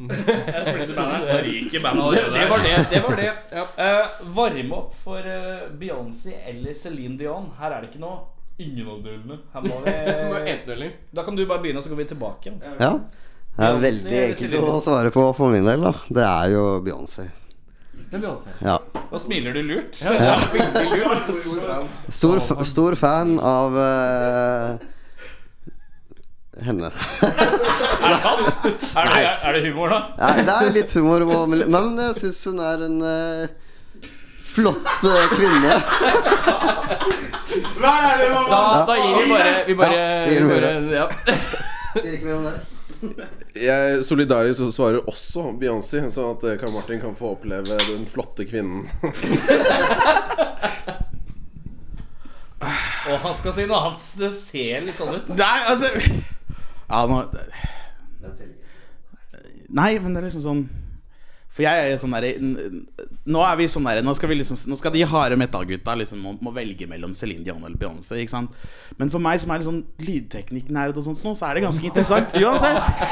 jeg splitter bandet. Jeg ryker bandet allerede.
Det var det. det, var det. Ja.
Eh, varme opp for eh, Beyoncé eller Celine Dion. Her er det ikke noe Ingen av delene. Her må
Eh,
vi
Enten eller.
Da kan du bare begynne, så går vi tilbake igjen.
Ja. Det er
Beyoncé
veldig
eller
enkelt
Celine?
å svare på for min del, da. Det er jo Beyoncé.
Det blir Beyoncé.
Ja.
Da smiler du lurt.
Ja.
Veldig lurt.
Stor, f stor fan av eh, henne.
Er det sant? Er det, er, er det humor, da?
Nei, det er litt humor. og- Nei, men jeg syns hun er en eh, flott eh, kvinne.
Hva er det nå?
Da, da gir vi bare Vi bare,
Ja,
vi
gir
bare
ordet.
ja.
Sier ikke mer om det.
Jeg solidarisk så svarer også Beyoncé, sånn at eh, Karl Martin kan få oppleve den flotte kvinnen.
Og han skal si noe annet. Det ser litt sånn ut.
Nei, altså Ja, nå Nei, men det er liksom sånn For jeg er sånn derre n- Nå er vi sånn derre Nå skal vi liksom Nå skal de harde metallgutta liksom må, må velge mellom Celine Dion eller Beyoncé, ikke sant? Men for meg som er litt sånn lydteknikknerd og sånt nå, så er det ganske interessant uansett.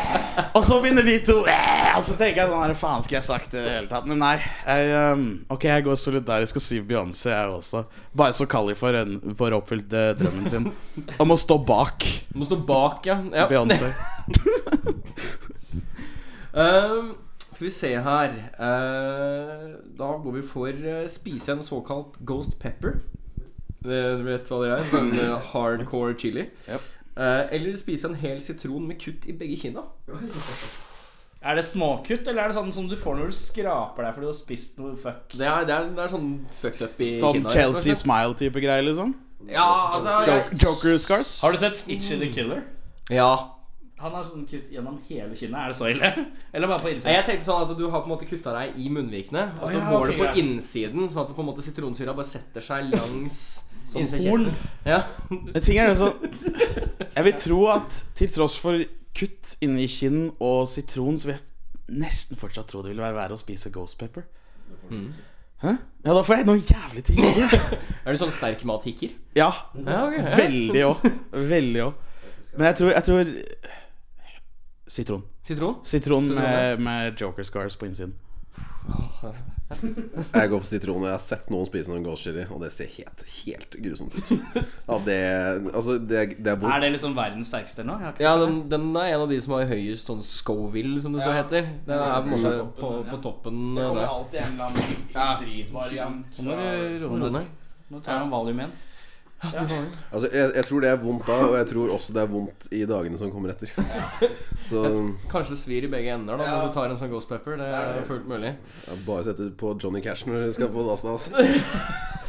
Og så begynner de to eh, Og så tenker jeg sånn her Faen, skulle jeg sagt det i det hele tatt? Men nei. Jeg, ehm, ok, jeg går solidarisk og sier Beyoncé, jeg også. Bare så Kali får, en- får oppfylt eh, drømmen sin om å stå bak
Må stå bak, ja. ja.
Beyoncé.
Ehm, skal vi se her Eh, Da går vi for eh, spise en såkalt ghost pepper. Eh, Du vet hva det er? Sånn eh, hardcore chili. Eh, eller spise en hel sitron med kutt i begge kinna.
Er det småkutt, eller er det sånn som du får når du skraper deg fordi du har spist noe fuck?
Det er, det er, det er sånn fucked up i
Sånn
kinna. rett og
Chelsea
slett.
Smile-type greier, liksom?
Ja, altså, jeg,
Joker scars?
Har du sett Itchy the Killer?
ja.
Han er sånn kutt gjennom hele kinnet. Er det så ille? Eller bare på
Nei,
innsiden?
Jeg tenkte sånn at du har på en måte kutta deg i munnvikene, og
Å
så
ja,
går
ok,
det på
greit.
innsiden, sånn at det på en måte sitronsyra bare setter seg langs
Som
innsiden av
horn.
kjeften. Ja.
Men ting er jo sånn Jeg vil tro at til tross for kutt inni kinn og sitron, så vil jeg nesten fortsatt tro det ville være verre å spise ghost pepper.
Mm.
Hæ? Ja, da får jeg noe jævlig til.
Er du sånn sterk mathikker?
Ja.
Ja, ok. Ja.
Veldig òg. Veldig òg. Men jeg tror, jeg tror Sitron.
Sitron?
Sitron
ja.
med, med joker scars på innsiden.
Jeg går for sitron. og Jeg har sett noen spise noen ghost chili, og det ser helt, helt grusomt ut. Ja, det, altså, det, det er
Er
vondt.
det liksom verdens sterkeste nå? Jeg har ikke
Ja,
sett det.
den, den er en av de som har høyest sånn Scoville, som det så heter. Den er på, en måte på, på toppen eh, der.
alltid en eller annen dritvariant.
Nå må du roe
Roe
deg.
ned.
Nå tar jeg en valium igjen.
Altså, jeg, jeg tror det er vondt da, og jeg tror også det er vondt i dagene som kommer etter. Så
Kanskje det svir i begge ender da når du tar en sånn Ghost Pepper. Det er fullt mulig.
ja, bare sette på Johnny Cash når dere skal på altså. dassen hans.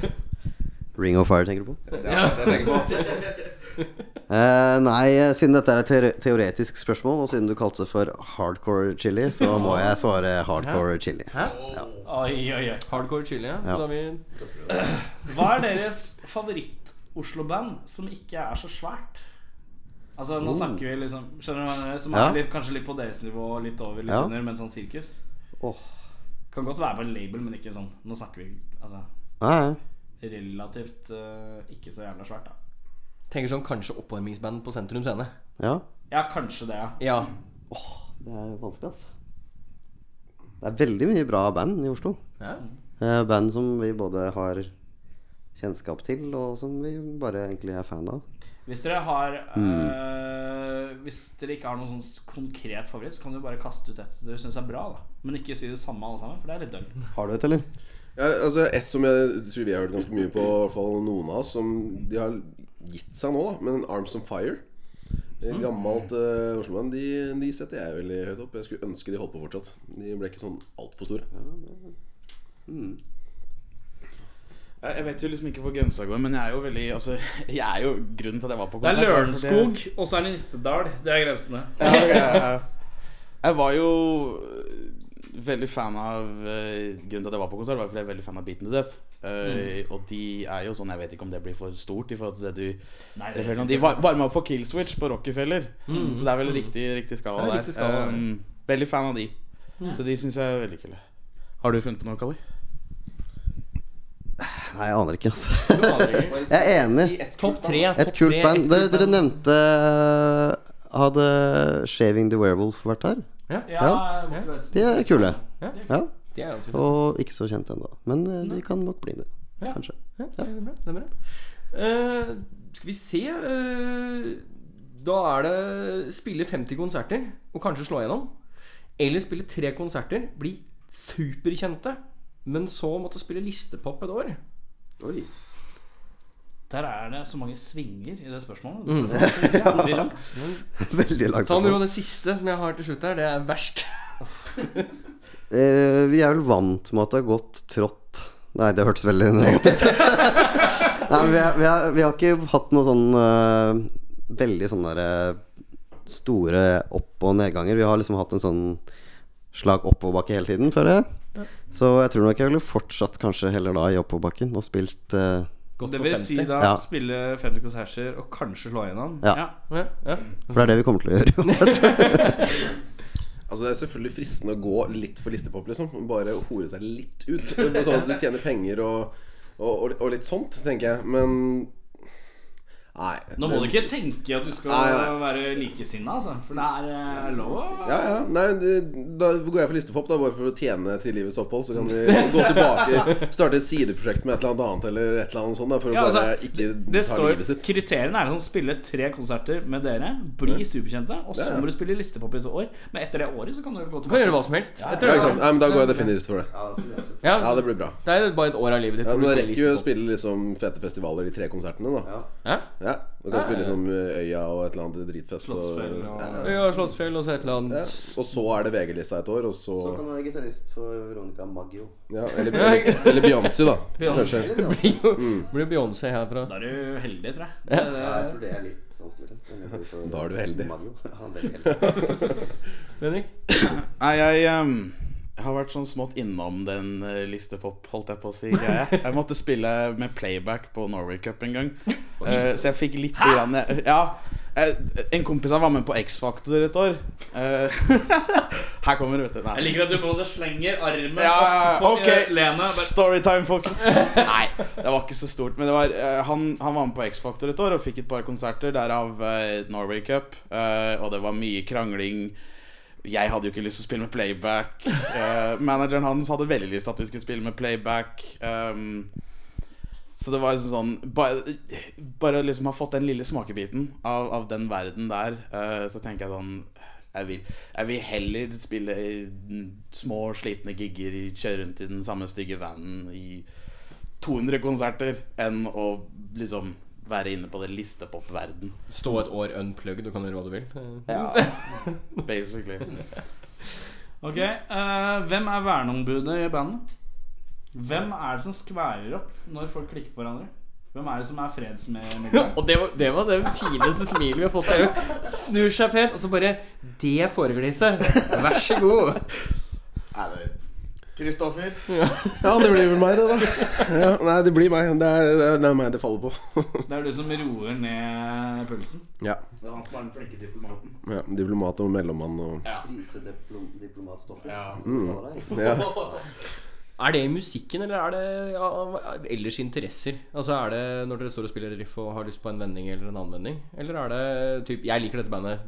Det
Ring of Fire tenker du på?
er det jeg tenker på.
Eh, nei, eh, siden dette er et teore- teoretisk spørsmål, og siden du kalte det for hardcore chili, så må jeg svare hardcore chili.
Oi, oi, oi.
Hardcore chili, ja. Så da har vi
Hva er deres favoritt-Oslo-band som ikke er så svært? Altså, nå snakker vi liksom Skjønner du hva jeg mener? Som
Oh. Ja.
er litt, kanskje litt på deres nivå, litt over, litt
Ja.
under, men sånn sirkus.
Åh.
Kan godt være på en label, men ikke sånn Nå snakker vi altså
Nei, nei.
relativt eh, ikke så jævla svært, da.
tenker sånn kanskje oppvarmingsband på Sentrum Scene.
ja.
Ja, kanskje det, ja.
Ja.
Det er vanskelig, altså. Det er veldig mye bra band i Oslo.
ja.
Eh, band som vi både har kjennskap til, og som vi bare egentlig er fan av.
Hvis dere har eh,
Mm.
Hvis dere ikke har noen sånn konkret favoritt, så kan dere bare kaste ut et dere syns er bra, da. Men ikke si det samme alle sammen, for det er litt dølt.
Har du et, eller?
Ja, altså Et som jeg tror vi har hørt ganske mye på, i hvert fall noen av oss, som de har gitt seg nå, da, men Arms on Fire. Eh,
Mhm.
Gammelt uh, Oslo-band. De, de setter jeg veldig høyt opp. Jeg skulle ønske de holdt på fortsatt. De ble ikke sånn altfor store.
Jeg jeg vet jo liksom ikke hvor grensa går, men jeg er jo veldig Altså, jeg er jo grunnen til at jeg var på
Det er
konsert. var fordi jeg-
Lørenskog, og så er det Nittedal. Det er grensene.
Ja, ok, ja, ja. Jeg var jo øh, veldig fan av øh, Grunnen til at jeg var på konsert, var fordi jeg er veldig fan av Beaten to Death. Øh, Og de er jo sånn Jeg vet ikke om det blir for stort i forhold til det du
Nei,
refererer til. De var- varma opp for Killswitch på Rockefeller, så det er vel riktig, riktig skala
Det er
der.
riktig skala, ja.
Um, veldig fan av de. Så de syns jeg er veldig kule. Har du funnet på noe, Kalli?
Nei, jeg aner ikke, altså.
Topp
Jeg er enig.
tre.
Et kult band. Det, dere nevnte eh, Hadde Shaving the Werewolf vært her?
Ja, jeg var på
De er kule.
Ja.
Ja.
Det er ganske bra.
Og ikke så kjent ennå. Men eh, de kan nok bli det.
Ja.
Kanskje.
Ja, det er bra. Det er bra. Eh, skal vi se eh, Da er det spille 50 konserter og kanskje slå igjennom. Eller spille tre konserter, bli superkjente, men så måtte spille listepop et år.
Oi.
Der er det så mange svinger i det spørsmålet. Det er jævlig langt.
Veldig langt.
Ta med
opp.
ro det siste som jeg har til slutt her. Det er verst.
Eh, vi er vel vant med at det har gått trått Nei, det hørtes veldig negativt ut. Nei, men vi, er, vi, er, vi har ikke hatt noe sånn eh, veldig sånne der, eh, store opp- og nedganger. Vi har liksom hatt en sånn slag oppoverbakke hele tiden, føler jeg. Så jeg tror nok jeg ville fortsatt kanskje heller da i oppoverbakken og spilt eh,
Godt
Det
for
vil si
50.
da
Ja.
spille 50 konserter og kanskje slå igjennom.
Ja.
Ja, ja.
For det er det vi kommer til å gjøre uansett.
Altså Det er selvfølgelig fristende å gå litt for listepop, liksom. Bare hore seg litt ut. Sånn at du tjener penger og, og, og, og litt sånt, tenker jeg. Men Nei.
Nå må du ikke tenke at du skal
Nei,
være likesinna, altså. For det er eh, lov. å-
Ja, ja. Nei, det, da går jeg for listepop, da, bare for å tjene til livets opphold. Så kan vi gå tilbake, starte et sideprosjekt med et eller annet annet eller et eller annet sånt. Da, for å
Ja,
bare
altså,
ikke
Det
ta
står
livet sitt.
Kriteriene er liksom spille tre konserter med dere, bli superkjente, og så må du spille listepop i et år. Men etter det året så kan du gå
Du kan
tilbake.
gjøre hva som helst.
Ja,
Etter,
ikke sant? Nei, men da går jeg definitivt for det.
ja,
Ja, det blir bra.
det er bare et år av livet ditt.
Ja,
hvor
men
du
da
spiller
rekker vi å
listepop.
spille liksom fete festivaler, de tre konsertene, da.
Ja?
Ja, Du kan spille liksom Øya og et eller annet dritfett. Og,
Slottsfjell og-
ja, ja.
Ja, Slottsfjell og så et eller
Ja.
annet.
og så er det VG-lista et år, og så
du være gitarist for Veronica Maggio.
ja, Eller, eller, eller Beyoncé, da.
Beyoncé.
Kanskje.
Blir jo-
Mm.
Blir Beyoncé herfra.
Da er du heldig, tror jeg.
jeg tror det er litt vanskelig.
Da er du heldig.
Henrik?
Nei, jeg ehm, har vært sånn smått innom den eh, listepop, holdt jeg på å si. greia. Jeg måtte spille med playback på Norway Cup en gang. Eh, så jeg fikk litt grann, Ja, eh, En kompis av meg var med på X-Factor et år. Eh, her kommer det, vet du.
Jeg
Nei.
liker at du både slenger armen
Ja,
opp på
ok.
Lena. Bare,
Storytime, folkens. Nei, det var ikke så stort. Men det var, eh, han, han var med på X-Factor et år og fikk et par konserter, derav eh, Norway Cup. eh, og det var mye krangling. Jeg hadde jo ikke lyst til å spille med playback. Eh, manageren hans hadde veldig lyst til at vi skulle spille med playback. Um, så det var liksom sånn Bare, bare liksom ha fått den lille smakebiten av, av den verden der, eh, så tenker jeg sånn jeg vil, jeg vil heller spille i n- små, slitne gigger, i- kjøre rundt i den samme stygge vanen i 200 konserter, enn å liksom være inne på det listepop-verden.
Stå et år unplugged og kan gjøre hva du vil.
Ja, basically.
Ok, eh, Hvem er verneombudet i bandet? Hvem er det som skværer opp når folk klikker på hverandre? Hvem er det som er fredsmegleren?
Og det var, det var det fineste smilet vi har fått. Der. Snur seg pent, og så bare Det foregliset. Vær så god.
Kristoffer.
Ja, det blir vel meg, det, da. Ja, nei, det blir meg. Det er, det er, det er meg det faller på.
Det er du som roer ned pulsen.
ja.
Det er han som er den flinke diplomaten.
ja. Diplomat og mellommann og
Krisediplomatstoffet.
Ja.
Ja.
Er det i musikken, eller er det ja, ellers interesser? Altså Er det når dere står og spiller riff og har lyst på en vending eller en annen vending? Eller er det typ Jeg liker dette bandet.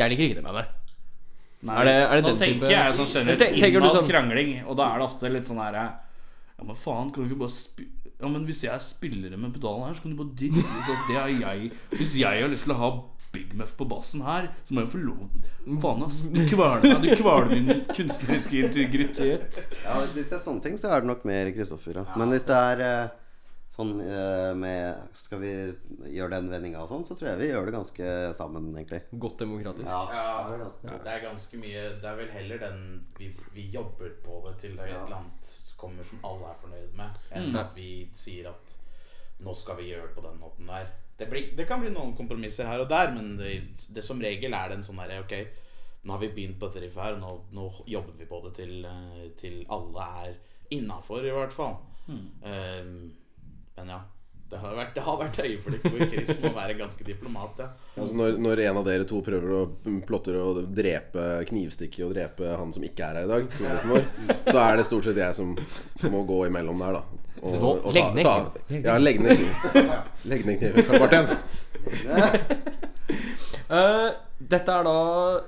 Jeg liker ikke det bandet.
Nei,
Er det- er det
nå
den
tenker
type-
jeg sånn generelt
Tenker- tenker du
innad
sånn-
krangling, og da er det ofte litt sånn her Ja, men faen, kan du ikke bare spi Ja, men hvis jeg spiller med pedalen her, så kan du bare drite i at det er jeg Hvis jeg har lyst til å ha Big Muff på bassen her, så må jeg få lov Faen, ass. Du kveler meg. Du kveler min kunstneriske integritet.
Ja, hvis det er sånne ting, så er det nok mer Kristoffer. Ja. Men hvis det er eh, sånn eh, med Skal vi gjøre den vendinga og sånn, så tror jeg vi gjør det ganske sammen, egentlig.
Godt demokratisk.
det er
Ja,
ganske-
det er ganske mye Det er vel heller den vi, vi jobber på det til det er et eller annet kommer som alle er fornøyd med, enn
Mm.
at vi sier at nå skal vi gjøre det på den måten der. Det, blir, det kan bli noen kompromisser her og der, men det, det som regel er det en sånn derre Ok, nå har vi begynt på dette riffet her, nå, nå jobber vi på det til, eh, til alle er innafor, i hvert fall.
Mm.
Eh, men ja. Det har vært, det har vært øyeblikk hvor Chris må være ganske diplomat, ja.
Altså når, når en av dere to prøver å plotter å drepe knivstikke og drepe han som ikke er her i dag, Thoresen vår, så er det stort sett jeg som må gå imellom der, da. Og,
må legge ned kniven.
Ja, legg ned kniven. Legg ned kniven. Karl Martin.
Eh, dette er da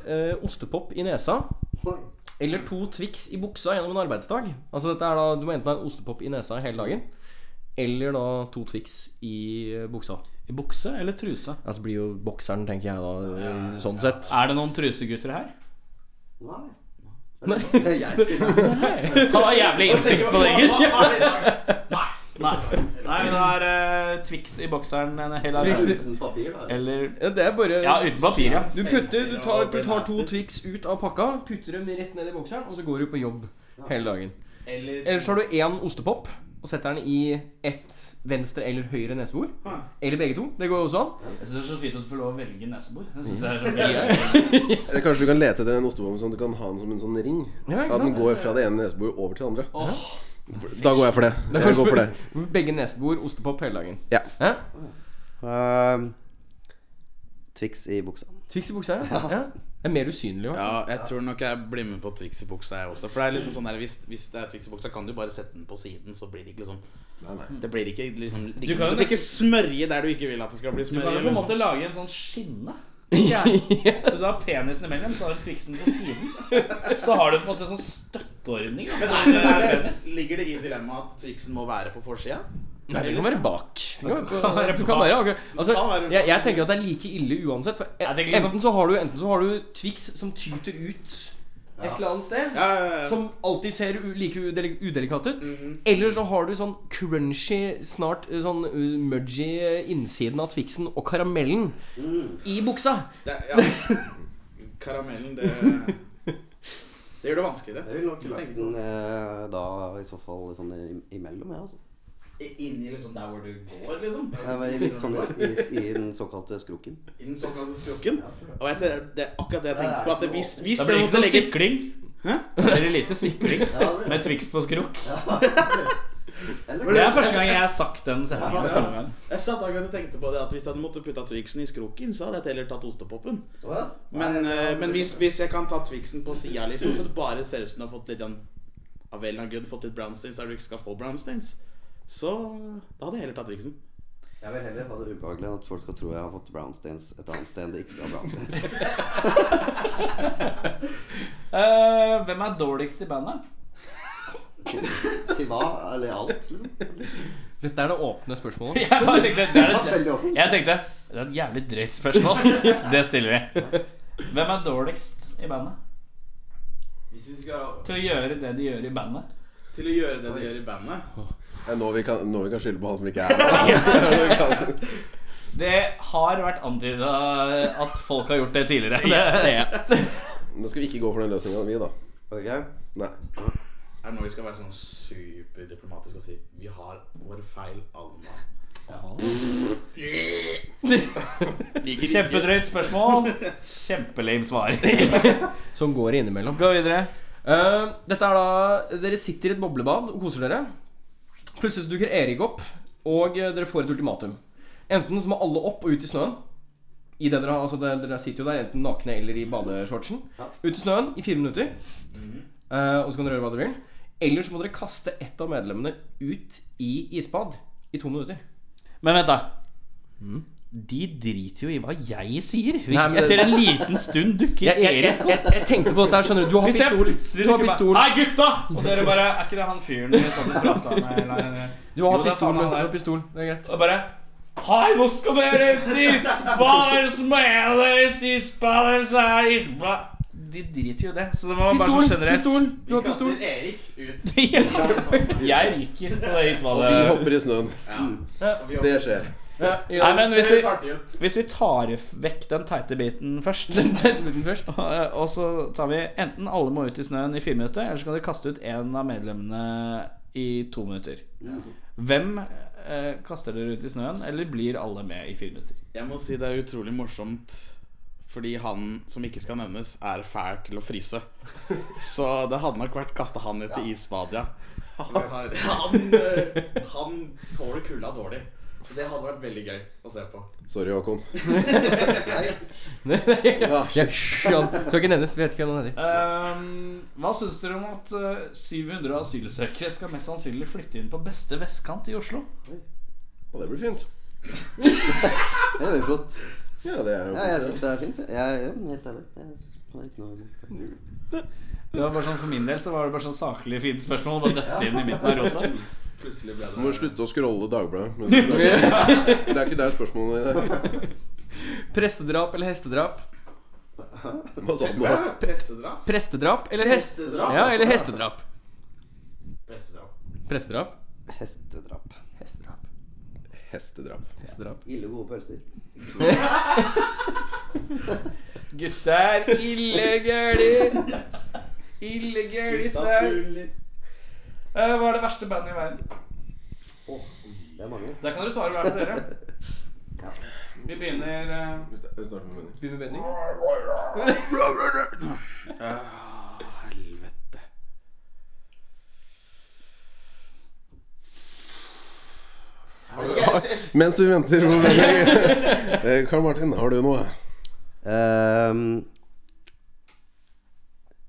eh, ostepop i nesa.
Oi.
Eller to Twix i buksa gjennom en arbeidsdag. Altså dette er da Du må enten ha en ostepop i nesa hele dagen, eller da to Twix i eh, buksa.
I bukse eller truse?
Altså blir jo bokseren, tenker jeg da, eh, sånn sett.
Er det noen trusegutter her?
Nei. Det er jeg som-
Han har jævlig innsikt på det, gitt.
Nei.
Nei, Nei, men det er eh, Twix i bokseren en hel dag.
Uten papir, da.
Eller
Ja, det er bare
Ja, uten papir, ja.
Du putter, du tar, du tar to Twix ut av pakka, putter dem rett ned i bokseren, og så går du på jobb hele dagen.
Eller
Eller så tar du én ostepop og setter den i ett venstre eller høyre nesebor. Eller begge to. Det går jo også an.
Jeg syns det er så fint at du får lov å velge nesebor. Det synes jeg er så gøy.
Eller kanskje du kan lete etter en ostebombe sånn at du kan ha den som en sånn ring?
Ja, ikke
At den
sant?
går fra det ene neseboret over til det andre. Da går jeg for det. Jeg går for det.
Begge nesebor, ostepop hele dagen.
Ja.
Hæ?
Ehm, Twix i buksa.
Twix i buksa, ja. ja. Det er mer usynlig, jo.
Ja, jeg tror nok jeg blir med på Twix i buksa, jeg også. For det er liksom sånn der, hvis, hvis det er Twix i buksa, kan du bare sette den på siden, så blir det ikke liksom
Nei, nei.
Det blir ikke liksom Det,
kan jo
det blir ikke smørje der du ikke vil at det skal bli
Du
smørje.
kan jo på en
liksom.
måte lage en sånn skinne. Hvis du har penisen imellom, så har du Twixen på siden. Så har du på en måte en sånn støtteordning. da,
Men
som
er det,
er
er det,
penis.
ligger det i dilemmaet at Twixen må være på forsida?
Nei, det kan være bak. Det kan være
kan
på,
være
du
bak.
kan bare, ok. altså,
kan være
jeg, jeg
bak.
tenker at det er like ille uansett. For
Jeg tenker liksom-
enten, så har du, enten så har du Twix som tyter ut et eller annet sted.
Ja, ja, ja.
Som alltid ser u- like udele- udelikat ut. Eller så har du sånn crunchy, snart uh, sånn uh, mudgy uh, innsiden av Twixen og karamellen
Mm.
i buksa.
Det, ja. Karamellen, det Det gjør det vanskeligere.
Jeg vil nok lagt den eh, da i så fall sånn i- imellom, jeg, altså.
Inni liksom der hvor du går, liksom?
Jeg var litt sånn i, i, i den såkalte skroken.
I den såkalte skrukken? Og jeg, det, det er akkurat det jeg tenkte på. At det, hvis, hvis
Da blir det
jeg
ikke
måtte
noe
legge
sikling. Det blir lite sikling med Twix på skrukk. Det er første gang jeg har sagt den setningen.
Jeg satt akkurat og tenkte på det at hvis jeg hadde måttet putte Twixen i skroken, så hadde jeg heller tatt ostepopen. Men, eh, men hvis, hvis jeg kan ta Twixen på sida, liksom, så det bare ser ut som du har fått litt sånn Av vel og gud fått litt brownsteins der du ikke skal få brownsteins, så da hadde jeg heller tatt Twixen.
Jeg vil heller ha det ubehagelig enn at folk skal tro jeg har fått brownsteins et annet sted enn det ikke skal ha brownsteins.
Eh, hvem er dårligst i bandet?
Til hva? Eller alt, liksom?
Dette er det åpne spørsmålet.
Jeg bare tenkte det er et,
Veldig åpent.
Jeg tenkte det er et jævlig drøyt spørsmål. Det stiller vi. Hvem er dårligst i bandet
Hvis vi skal
til å gjøre det de gjør i bandet?
til å gjøre det de gjør i bandet
Det er nå vi kan, nå vi kan skylde på han som ikke er her.
Det har vært antyda at folk har gjort det tidligere. Det,
Nå skal vi ikke gå for den løsninga, vi, da.
Ok?
Nei.
Er det nå vi skal være sånn superdiplomatiske og si Vi har vår feil, Alma.
Kjempedrøyt spørsmål. Kjempelame svar.
Som går innimellom.
Gå videre.
Eh, dette er da Dere sitter i et boblebad og koser dere. Plutselig så dukker Erik opp, og eh, dere får et ultimatum. Enten så må alle opp og ut i snøen. I det dere, altså det, dere sitter jo der enten nakne eller i badeshortsen. Ut i snøen i fire minutter. Eh, og så kan dere gjøre hva dere vil. Eller så må dere kaste ett av medlemmene ut i isbad i to minutter.
Men vent, da. De driter jo i hva jeg sier. Vi-
Nei, men-
Etter en liten stund dukker
Jeg, jeg, jeg,
Erik opp.
jeg, jeg tenkte på dette her, skjønner du. Du har
Hvis jeg
pistol.
plutselig
Du har
dukker bare,
pistol.
Hei, gutta! Og dere bare Er ikke det han fyren vi satt og prata med? Eller?
Du har
Jo, det er
pistol.
faen
Du
han der.
har pistol. Det er greit.
Og bare Hei, nå skal dere ut i isbar, smelle ut i isbar, så er isbar De driter jo i det, så det var bare
Pistol,
så generelt.
pistol. Du
Vi
har pistol.
kaster Erik ut.
Jeg ryker på det isbadet.
Vi hopper i snøen. Det skjer.
Ja, i
Nei,
dag.
men hvis vi,
Artig ut.
hvis vi tar vekk den teite biten først
Først.
og, og så tar vi enten alle må ut i snøen i fire minutter, eller så kan dere kaste ut en av medlemmene i to minutter. Hvem eh, kaster dere ut i snøen, eller blir alle med i fire minutter?
Jeg må si det er utrolig morsomt fordi han som ikke skal nevnes, er fæl til å fryse. Så det hadde nok vært kasta han ut i isbadet, ja. Han, han, eh, han tåler kulda dårlig. Så det hadde vært veldig gøy å se på.
Sorry, Håkon.
Ja, skjønt. Skal ikke nevnes. Vet ikke hva den heter.
Ehm, hva syns dere om at eh, 700 asylsøkere skal mest sannsynlig flytte inn på beste vestkant i Oslo?
Og det blir fint.
Det er veldig flott.
Ja, det er jo
Ja, jeg syns det er fint. Jeg, jeg, ja, men helt ærlig. Jeg synes det er ikke noe imot det.
Det var bare sånn For min del så var det bare sånn saklig fint spørsmål. Bare døtte inn i midten av rotet.
Plutselig ble
Du
det
må slutte å scrolle Dagbladet. Men det er ikke der spørsmålet er.
Prestedrap eller hestedrap?
Hva sa du nå?
pressedrap.
Prestedrap eller hest...
Prestedrap?
Ja, eller hestedrap.
Pressedrap.
Prestedrap.
Hestedrap.
Hestedrap.
Hestedrap.
Hestedrap.
Ille gode pølser.
Gutter, ille gæli. Ille gæli snau. Eh, hva er det verste bandet i verden?
Det er mange.
Der kan dere svare hver for dere. Vi begynner eh,
Vi starter med mening.
Begynn med vending.
Helvete.
Mens vi venter på mening Eh, Karl Martin, har du noe?
Ehm,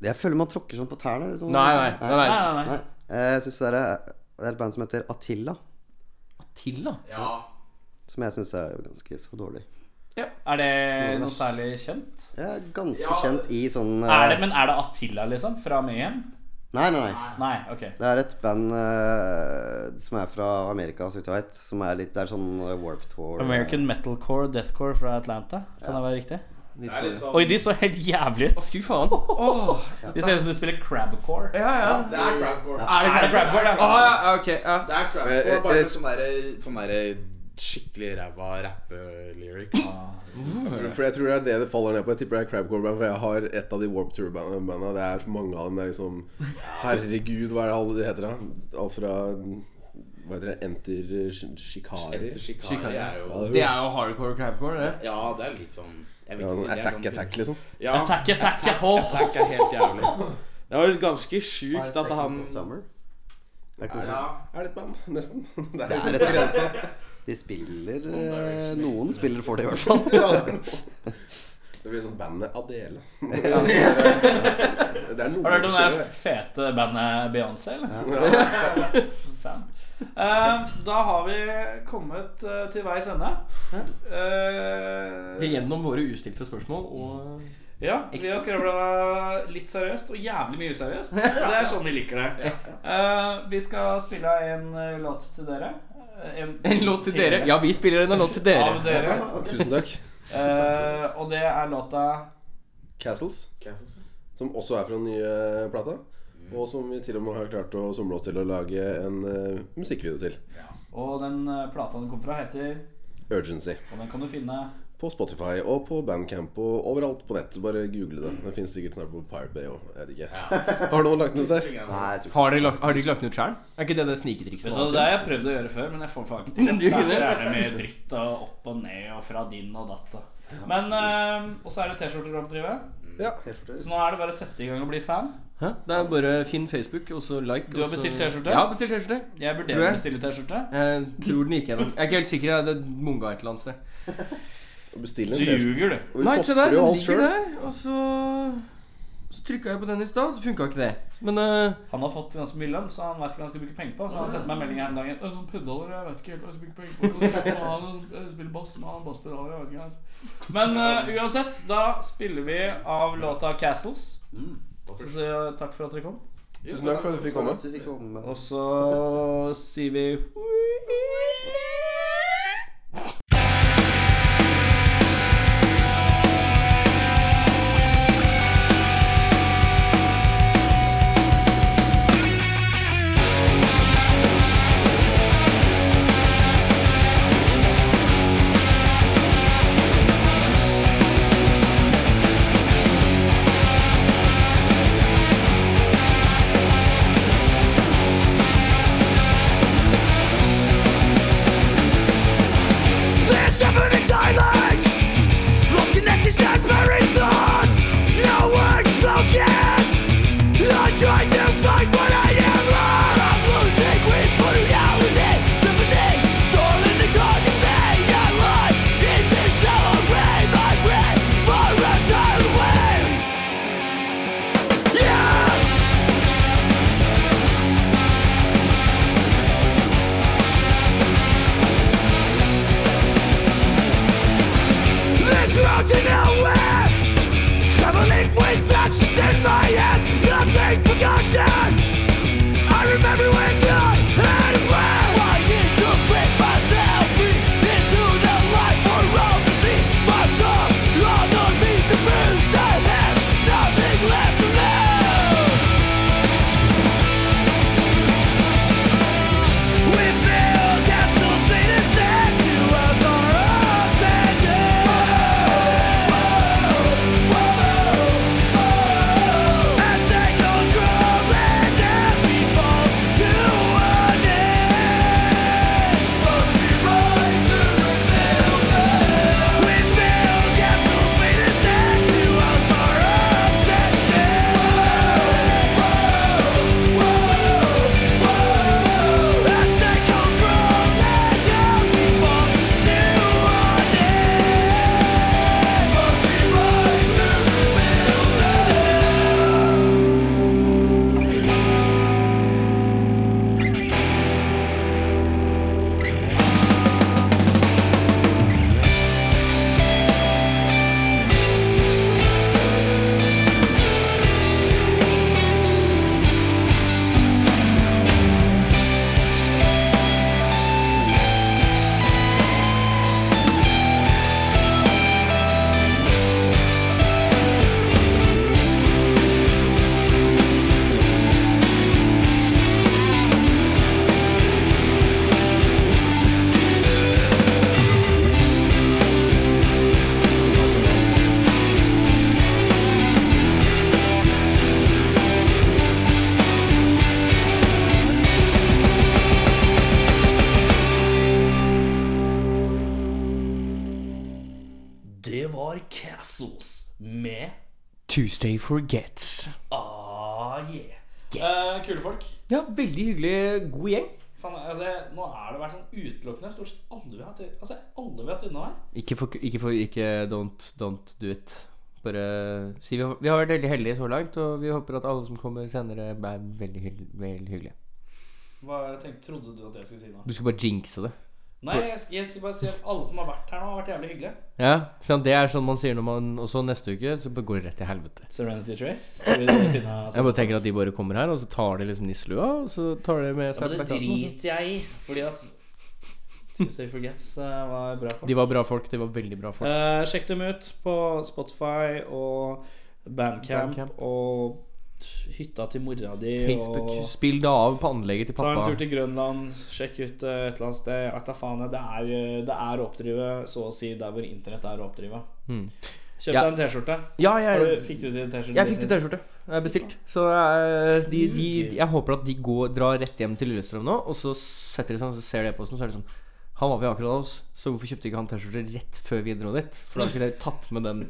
jeg føler man tråkker sånn på tærne. Liksom.
Nei, nei. nei,
Nei,
nei.
nei, nei.
Nei. Eh, Jeg synes det, er, det er et band som heter Attila,
Til, da.
Ja.
som jeg syns er jo ganske så dårlig.
Er det noe særlig kjent?
Jeg er ganske
Ja,
kjent i sånn eh,
Er det, men er det Attila, liksom? Fra Mehem?
Nei, nei, nei.
Nei, ok.
Det er et band eh, som er fra Amerika, så vidt jeg vet. Som er litt Det er sånn eh, Warp Tour. eh,
American metalcore, deathcore fra Atlanta. Kan det være riktig?
Det er litt sånn
Oi, de så helt jævlig ut.
Fy faen. Åh.
De ser ut som de spiller crabcore.
Ja, ja.
Det er crabcore.
Er det crabcore,
Å,
da?
ja, ja, ok. Ja.
Det er crap.
Eh,
Og bare
eh,
med sånn derre sånn der skikkelig ræva rappe-lyrics.
For jeg tror det er det det faller ned på. Jeg tipper det er Crabcore-band. For jeg har et av de Warp Tour-banda. Det er så mange av dem. Det er liksom Herregud, hva er det alle de heter, da? Alt fra Hva heter det? Enter Sh- Shikari?
Etter Shikari er jo
Ja,
Det er jo hardcore crabcore, det.
Ja, det er litt sånn jeg vil
Ja,
ikke
sånn
si det er
attack,
sånn-
attack, liksom.
Ja, attack.
Attack, attack, attack.
er helt jævlig. Det var ganske
Five
sjukt at han
Seconds of Summer. Det er ikke noe
ja,
Er det et band? Nesten. Det er
sånn-
liksom
det er rett og slett- De spiller eh, Noen spiller for det, i hvert fall.
Det blir sånn bandet Adele. Det er noen
Har du hørt om
som
det
spiller
der
det.
fete bandet Beyoncé, eller?
Ja.
Fan. Eh, da har vi kommet eh, til veis ende. Eh,
Vi er gjennom våre ustilte spørsmål og
ja, vi har skravla litt seriøst og jævlig mye useriøst. Det er sånn vi liker det. Eh, vi skal spille en eh, låt til dere. Eh,
En låt til dere. Ja, vi spiller en låt til
Av
dere.
dere.
Tusen takk.
Eh, og det er låta
Castles, som også er fra den nye plata.
Mm.
Og som vi til og med har klart å somle oss til å lage en eh, musikkvideo til.
Og den eh, plata den kom fra, heter
Urgency.
Og den kan du finne
På Spotify og på Bandcamp og overalt på nett. Bare google det. Det finnes sikkert snart på Pirate Bay og jeg vet ikke. Har noen lagt den ut der?
Nei, jeg tror
Har dere lagt- har dere ikke lagt den ut sjøl? Er ikke det det sniketrikset?
Vet du hva,
man har
Det
til?
har jeg prøvd å gjøre før, men jeg får faen ikke til. ass. Der er det mye dritt og opp og ned og fra din og datta. Men eh, Og så er det T-skjorter å oppdrive. Så nå er det bare å sette i gang og bli fan.
Hæ? Det er bare finn Facebook, og så like.
Du har
og så-
bestilt T-skjorte?
Ja, jeg har bestilt T-skjorte.
Jeg
Tror
vurderer
jeg.
å bestille T-skjorte.
Jeg tror den gikk gjennom. Jeg er ikke helt sikker. jeg. Det munga et eller annet sted.
Bestill
Du
en T-skjorte.
ljuger, du.
Og vi
Nei, se der,
poster jo
den
alt
ligger
sjøl.
der. Og så Så trykka jeg på den i stad, så funka ikke det. Men eh,
Han har fått ganske mye lønn, så han vet ikke hva han skal bruke penger på. Så han sendte meg en melding her om dagen. «Øh, Sånn pedaler, jeg vet ikke helt hva jeg skal bruke penger på. Jeg skal ha noen- jeg spiller bass, men han basspedaler, jeg vet ikke helt. Men eh, uansett, da spiller vi av låta 'Castles'. Så sier jeg takk for at dere kom.
Tusen takk for at du fikk komme.
Du fikk komme.
Og så sier vi
This happening silence Lost connections and buried thoughts No word spoken I try to find what I am lost I'm losing with putting out with it Deafening soul in the dark of day I lie in this shallow grave I pray for a tidal wave Yeah! This road to nowhere Traveling with matches in my hands Nothing forgotten I remember when I had a plan Trying to break myself free Into the light for all to see My soul all underneath the bruised I have nothing left to lose We build castles made of sand to us on our own sand As cycles grow and as we fall to an end But we rise to We build castles made of sand to us on our own As cycles grow and as we fall to an end But we rise to
Det var Castles med
Tuesday Forgets.
Ah, yeah. Eh, kule folk.
Ja, veldig hyggelig. God gjeng.
Fan, altså, jeg- nå har det vært sånn utelukkende stort sett alle vi har hatt altså, alle vi har hatt inne her.
Ikke for Ikke, for, ikke don't, don't do it. Bare si vi har, vi har vært veldig heldige så langt, og vi håper at alle som kommer senere, er veldig, hyll- veldig hyggelige.
Hva er det jeg tenkte, trodde du at jeg skulle si nå?
Du skal bare jinxe det.
Nei, jeg, skal- jeg skal bare si at alle som har vært her nå, har vært jævlig hyggelige.
Ja, sant? Det er sånn man sier når man Og så neste uke så bare går det rett til helvete.
Serenity Trace. Skal vi ved siden av-
Jeg bare tenker at de bare kommer her, og så tar de liksom nisselua, og så tar de med
Ja,
seg
men det
plakaten, og så-
driter jeg i, fordi at Tuesday Forgets eh, var bra folk.
De var bra folk. De var veldig bra folk.
Eh, sjekk dem ut på Spotify og Bandcamp,
Bandcamp.
og hytta til mora di
Facebook,
og
spill det av på anlegget til
Ta en
pappa.
tur til Grønland, sjekk ut eh, et eller annet sted. Jeg vet da faen, jeg. det er, eh, det er å oppdrive så å si der hvor internett er å oppdrive. Kjøp
Hmm. Ja.
deg en T-skjorte.
Ja,
Har du-
jeg,
Fikk du til T-skjorte?
jeg fikk det T-skjorte. Jeg bestilt. Så eh, de, de, jeg håper at de går, drar rett hjem til Lillestrøm nå, og så setter de seg og så ser de på oss, og så er det sånn Han var ved akkurat hos, så hvorfor kjøpte ikke han T-skjorte rett før vi dro dit? For da skulle jeg tatt med den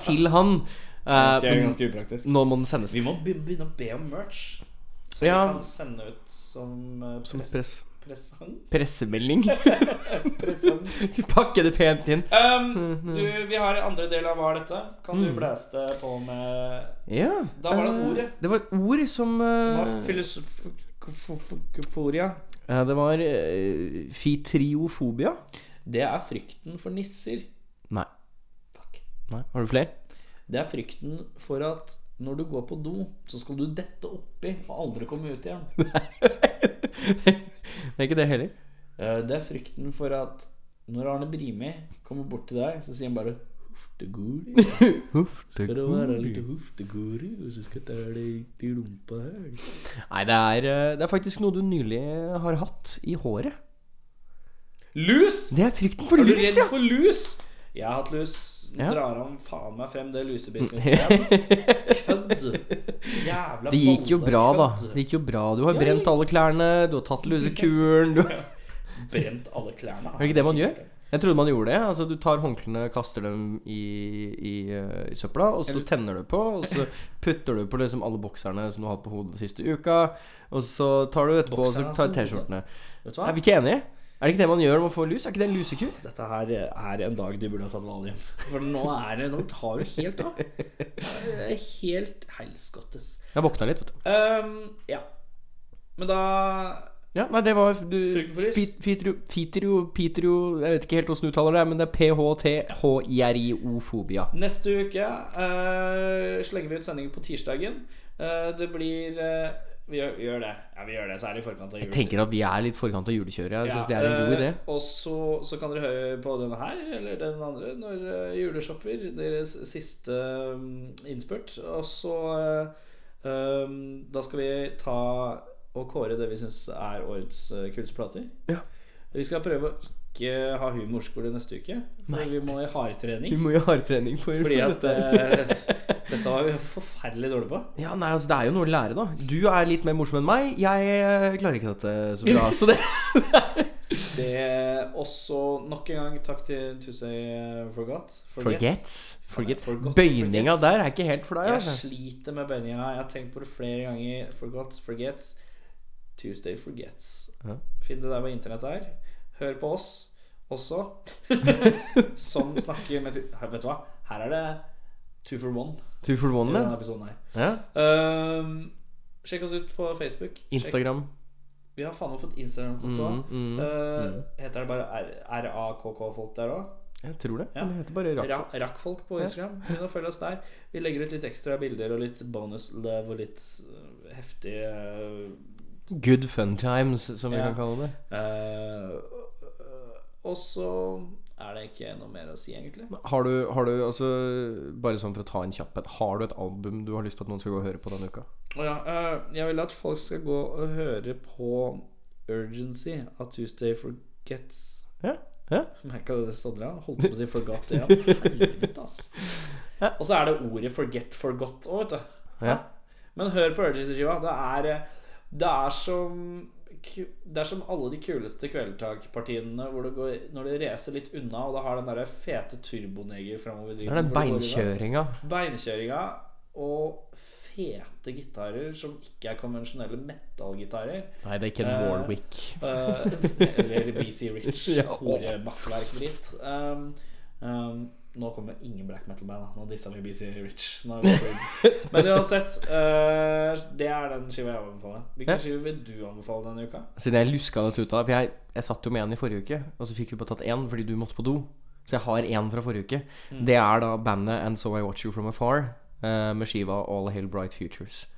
til han. Eh,
Ganske,
men
ganske upraktisk.
nå må den sendes.
Vi må be- begynne å be om merch. Så
Ja.
vi kan sende ut som eh,
Som
press,
press.
Presang?
Pressemelding.
Presang.
Pakke det pent inn.
Um,
Mhm.
du, vi har en andre del av hva er dette? Kan
Mm.
du blæste på med
Ja.
Da var det
eh,
ordet.
Det var ord som, eh,
Som har filosoforia?
eh, Det var eh, fitriofobia.
Det er frykten for nisser.
Nei.
Fuck.
Nei. Har du flere?
Det er frykten for at når du går på do, så skal du dette oppi og aldri komme ut igjen.
Det er ikke det heller.
Eh, Det er frykten for at når Arne Brimi kommer bort til deg, så sier han bare Hofteguri.
Huff, det
Skal det
går.
være litt hofteguri, og så skal jeg ta deg litt i rumpa her?
Nei, det er, eh, det er faktisk noe du nylig har hatt i håret.
Lus!
Det er frykten for
Er du
lus,
redd
ja!
for lus? Jeg har hatt lus. Nå
Ja.
drar han faen meg frem det lusebusinessen igjen. Kødd! Jævla
Det gikk jo bra, da.
kødd.
Det gikk jo bra. Du har
Ja,
brent
ja.
alle klærne, du har tatt lusekuren du...
Brent alle klærne.
Er det ikke det man gjør? Jeg trodde man gjorde det. Altså, du tar håndklærne, kaster dem i, i, eh, i søpla, og så tenner du på, og så putter du på liksom alle bokserne som du har hatt på hodet den siste uka, og så tar du etterpå og så
Bokserne
tar
på
T-skjortene.
Vet du hva?
Er vi ikke enige? Er det ikke det man gjør når man får lus? Er ikke det en lusekur?
Dette her er en dag de burde ha tatt valium. For nå er det Nå tar du helt av. Det er Helt helskottes.
Jeg våkna litt, vet du.
Um, ja. Men da
Ja, nei, det var du,
Frykten for lus?
Fit- Fitrio, fitrio, pitrio Jeg vet ikke helt hvordan du uttaler det, men det er PHTHIRIOfobia.
Neste uke eh, slenger vi ut sendingen på tirsdagen. Eh, det blir eh, Vi gjør, gjør det. Ja, vi gjør det, så er det i forkant av jul.
Tenker at vi er litt forkant av julekjøret. Jeg syns det er en
eh,
god idé.
Og så, så kan dere høre på denne her, eller den andre, når eh, juleshopper. Deres siste um, innspurt. Og så eh, um, Da skal vi ta og kåre det vi syns er årets eh, kuleste plater. Vi skal prøve å ikke ha humorskole neste uke. For vi må i hardtrening.
Vi må jo ha hardtrening for
Fordi
for
at
dette.
eh, dette var vi forferdelig dårlig på.
Ja, nei, altså Det er jo noe å lære, da. Du er litt mer morsom enn meg. Jeg eh, klarer ikke dette så bra. Så det
Det også nok en gang takk til Tuesday Forgot.
Forgets.
Forget.
Forget.
Forgot,
Bøyninga
forget.
der er ikke helt for deg.
Jeg
Altså.
sliter med bøyninga. Jeg har tenkt på det flere ganger. Forgot, forgets. Tuesday forgets.
Ja.
Finn det der hvor internett er. Hør på oss også, som snakker med tu- Her, Vet du hva? Her er det two for one
Two for
i
one,
denne
ja.
episoden her.
ja.
Ehm, sjekk oss ut på Facebook. Sjekk-
Instagram.
Vi har faen meg fått Instagram-konto.
Mm,
også.
mm,
Eh,
mm.
Heter det bare R- RAKK-folk der òg?
Jeg tror det.
Ja.
Det heter bare Rakel.
Rakkfolk på Instagram. Begynn å følge oss der. Vi legger ut litt ekstra bilder og litt bonuslev og litt eh, heftig eh,
Good fun times, som vi
Ja.
kan kalle det.
eh, Og så er det ikke noe mer å si, egentlig.
Har du, har du altså, Bare sånn for å ta en kjapp en. Har du et album du har lyst til at noen skal gå og høre på denne uka?
Å ja, eh, jeg vil at folk skal gå og høre på Urgency av Tuesday Forgets.
Ja, ja.
Merka det sodra? Holdt på å si 'forgot' igjen. Helvete, ass. Og så er det ordet 'forget forgot' òg, vet du.
Ja.
Men hør på Urgency-skiva. Det er eh, Det er som ku- det er som alle de kuleste kveldtakpartiene hvor det går, når du racer litt unna, og da har den der fete turboneger framover
Det er den beinkjøringa.
Beinkjøringa og fete gitarer som ikke er konvensjonelle metallgitarer.
Nei, det er Ken
Eh,
Warwick.
Eh, eller BC Rich. Hore makkverk-dritt. Um, um, nå kommer ingen black metal-band. da. Nå dissa vi BC Rich. Nå er vi screwed. Men uansett, eh, det er den skiva jeg anbefaler.
Ja.
Hvilken skive vil du anbefale denne uka?
Siden jeg luska dette ut av For jeg, jeg satt jo med en i forrige uke, og så fikk vi bare tatt én fordi du måtte på do. Så jeg har én fra forrige uke. Det er da bandet And So I Watch You From Afar eh, med skiva All Hail Bright Futures.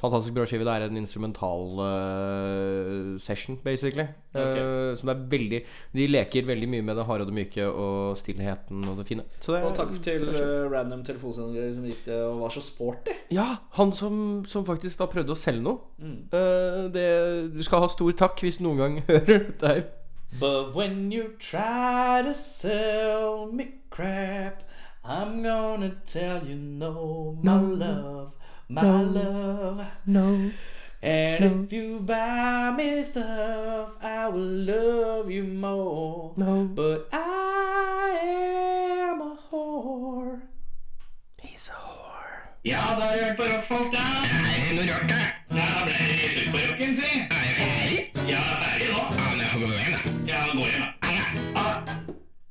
Fantastisk bra skive. Det er en instrumental eh, session, basically. Eh, som er veldig De leker veldig mye med det harde og det myke og stillheten og det fine. Så det er-
Og takk til eh, random telefonsender som gikk det og var så sporty.
Ja, han som, som faktisk da prøvde å selge noe. Eh, det, du skal ha stor takk hvis du noen gang hører dette her.
But when you try to sell me crap, I'm gonna tell you no, my love, my love.
No.
And if you buy me stuff, I will love you more.
No.
But I am a whore.
Ja, ferdig nå. Ja, men jeg får gå hjem, da. Ja, gå hjem, da.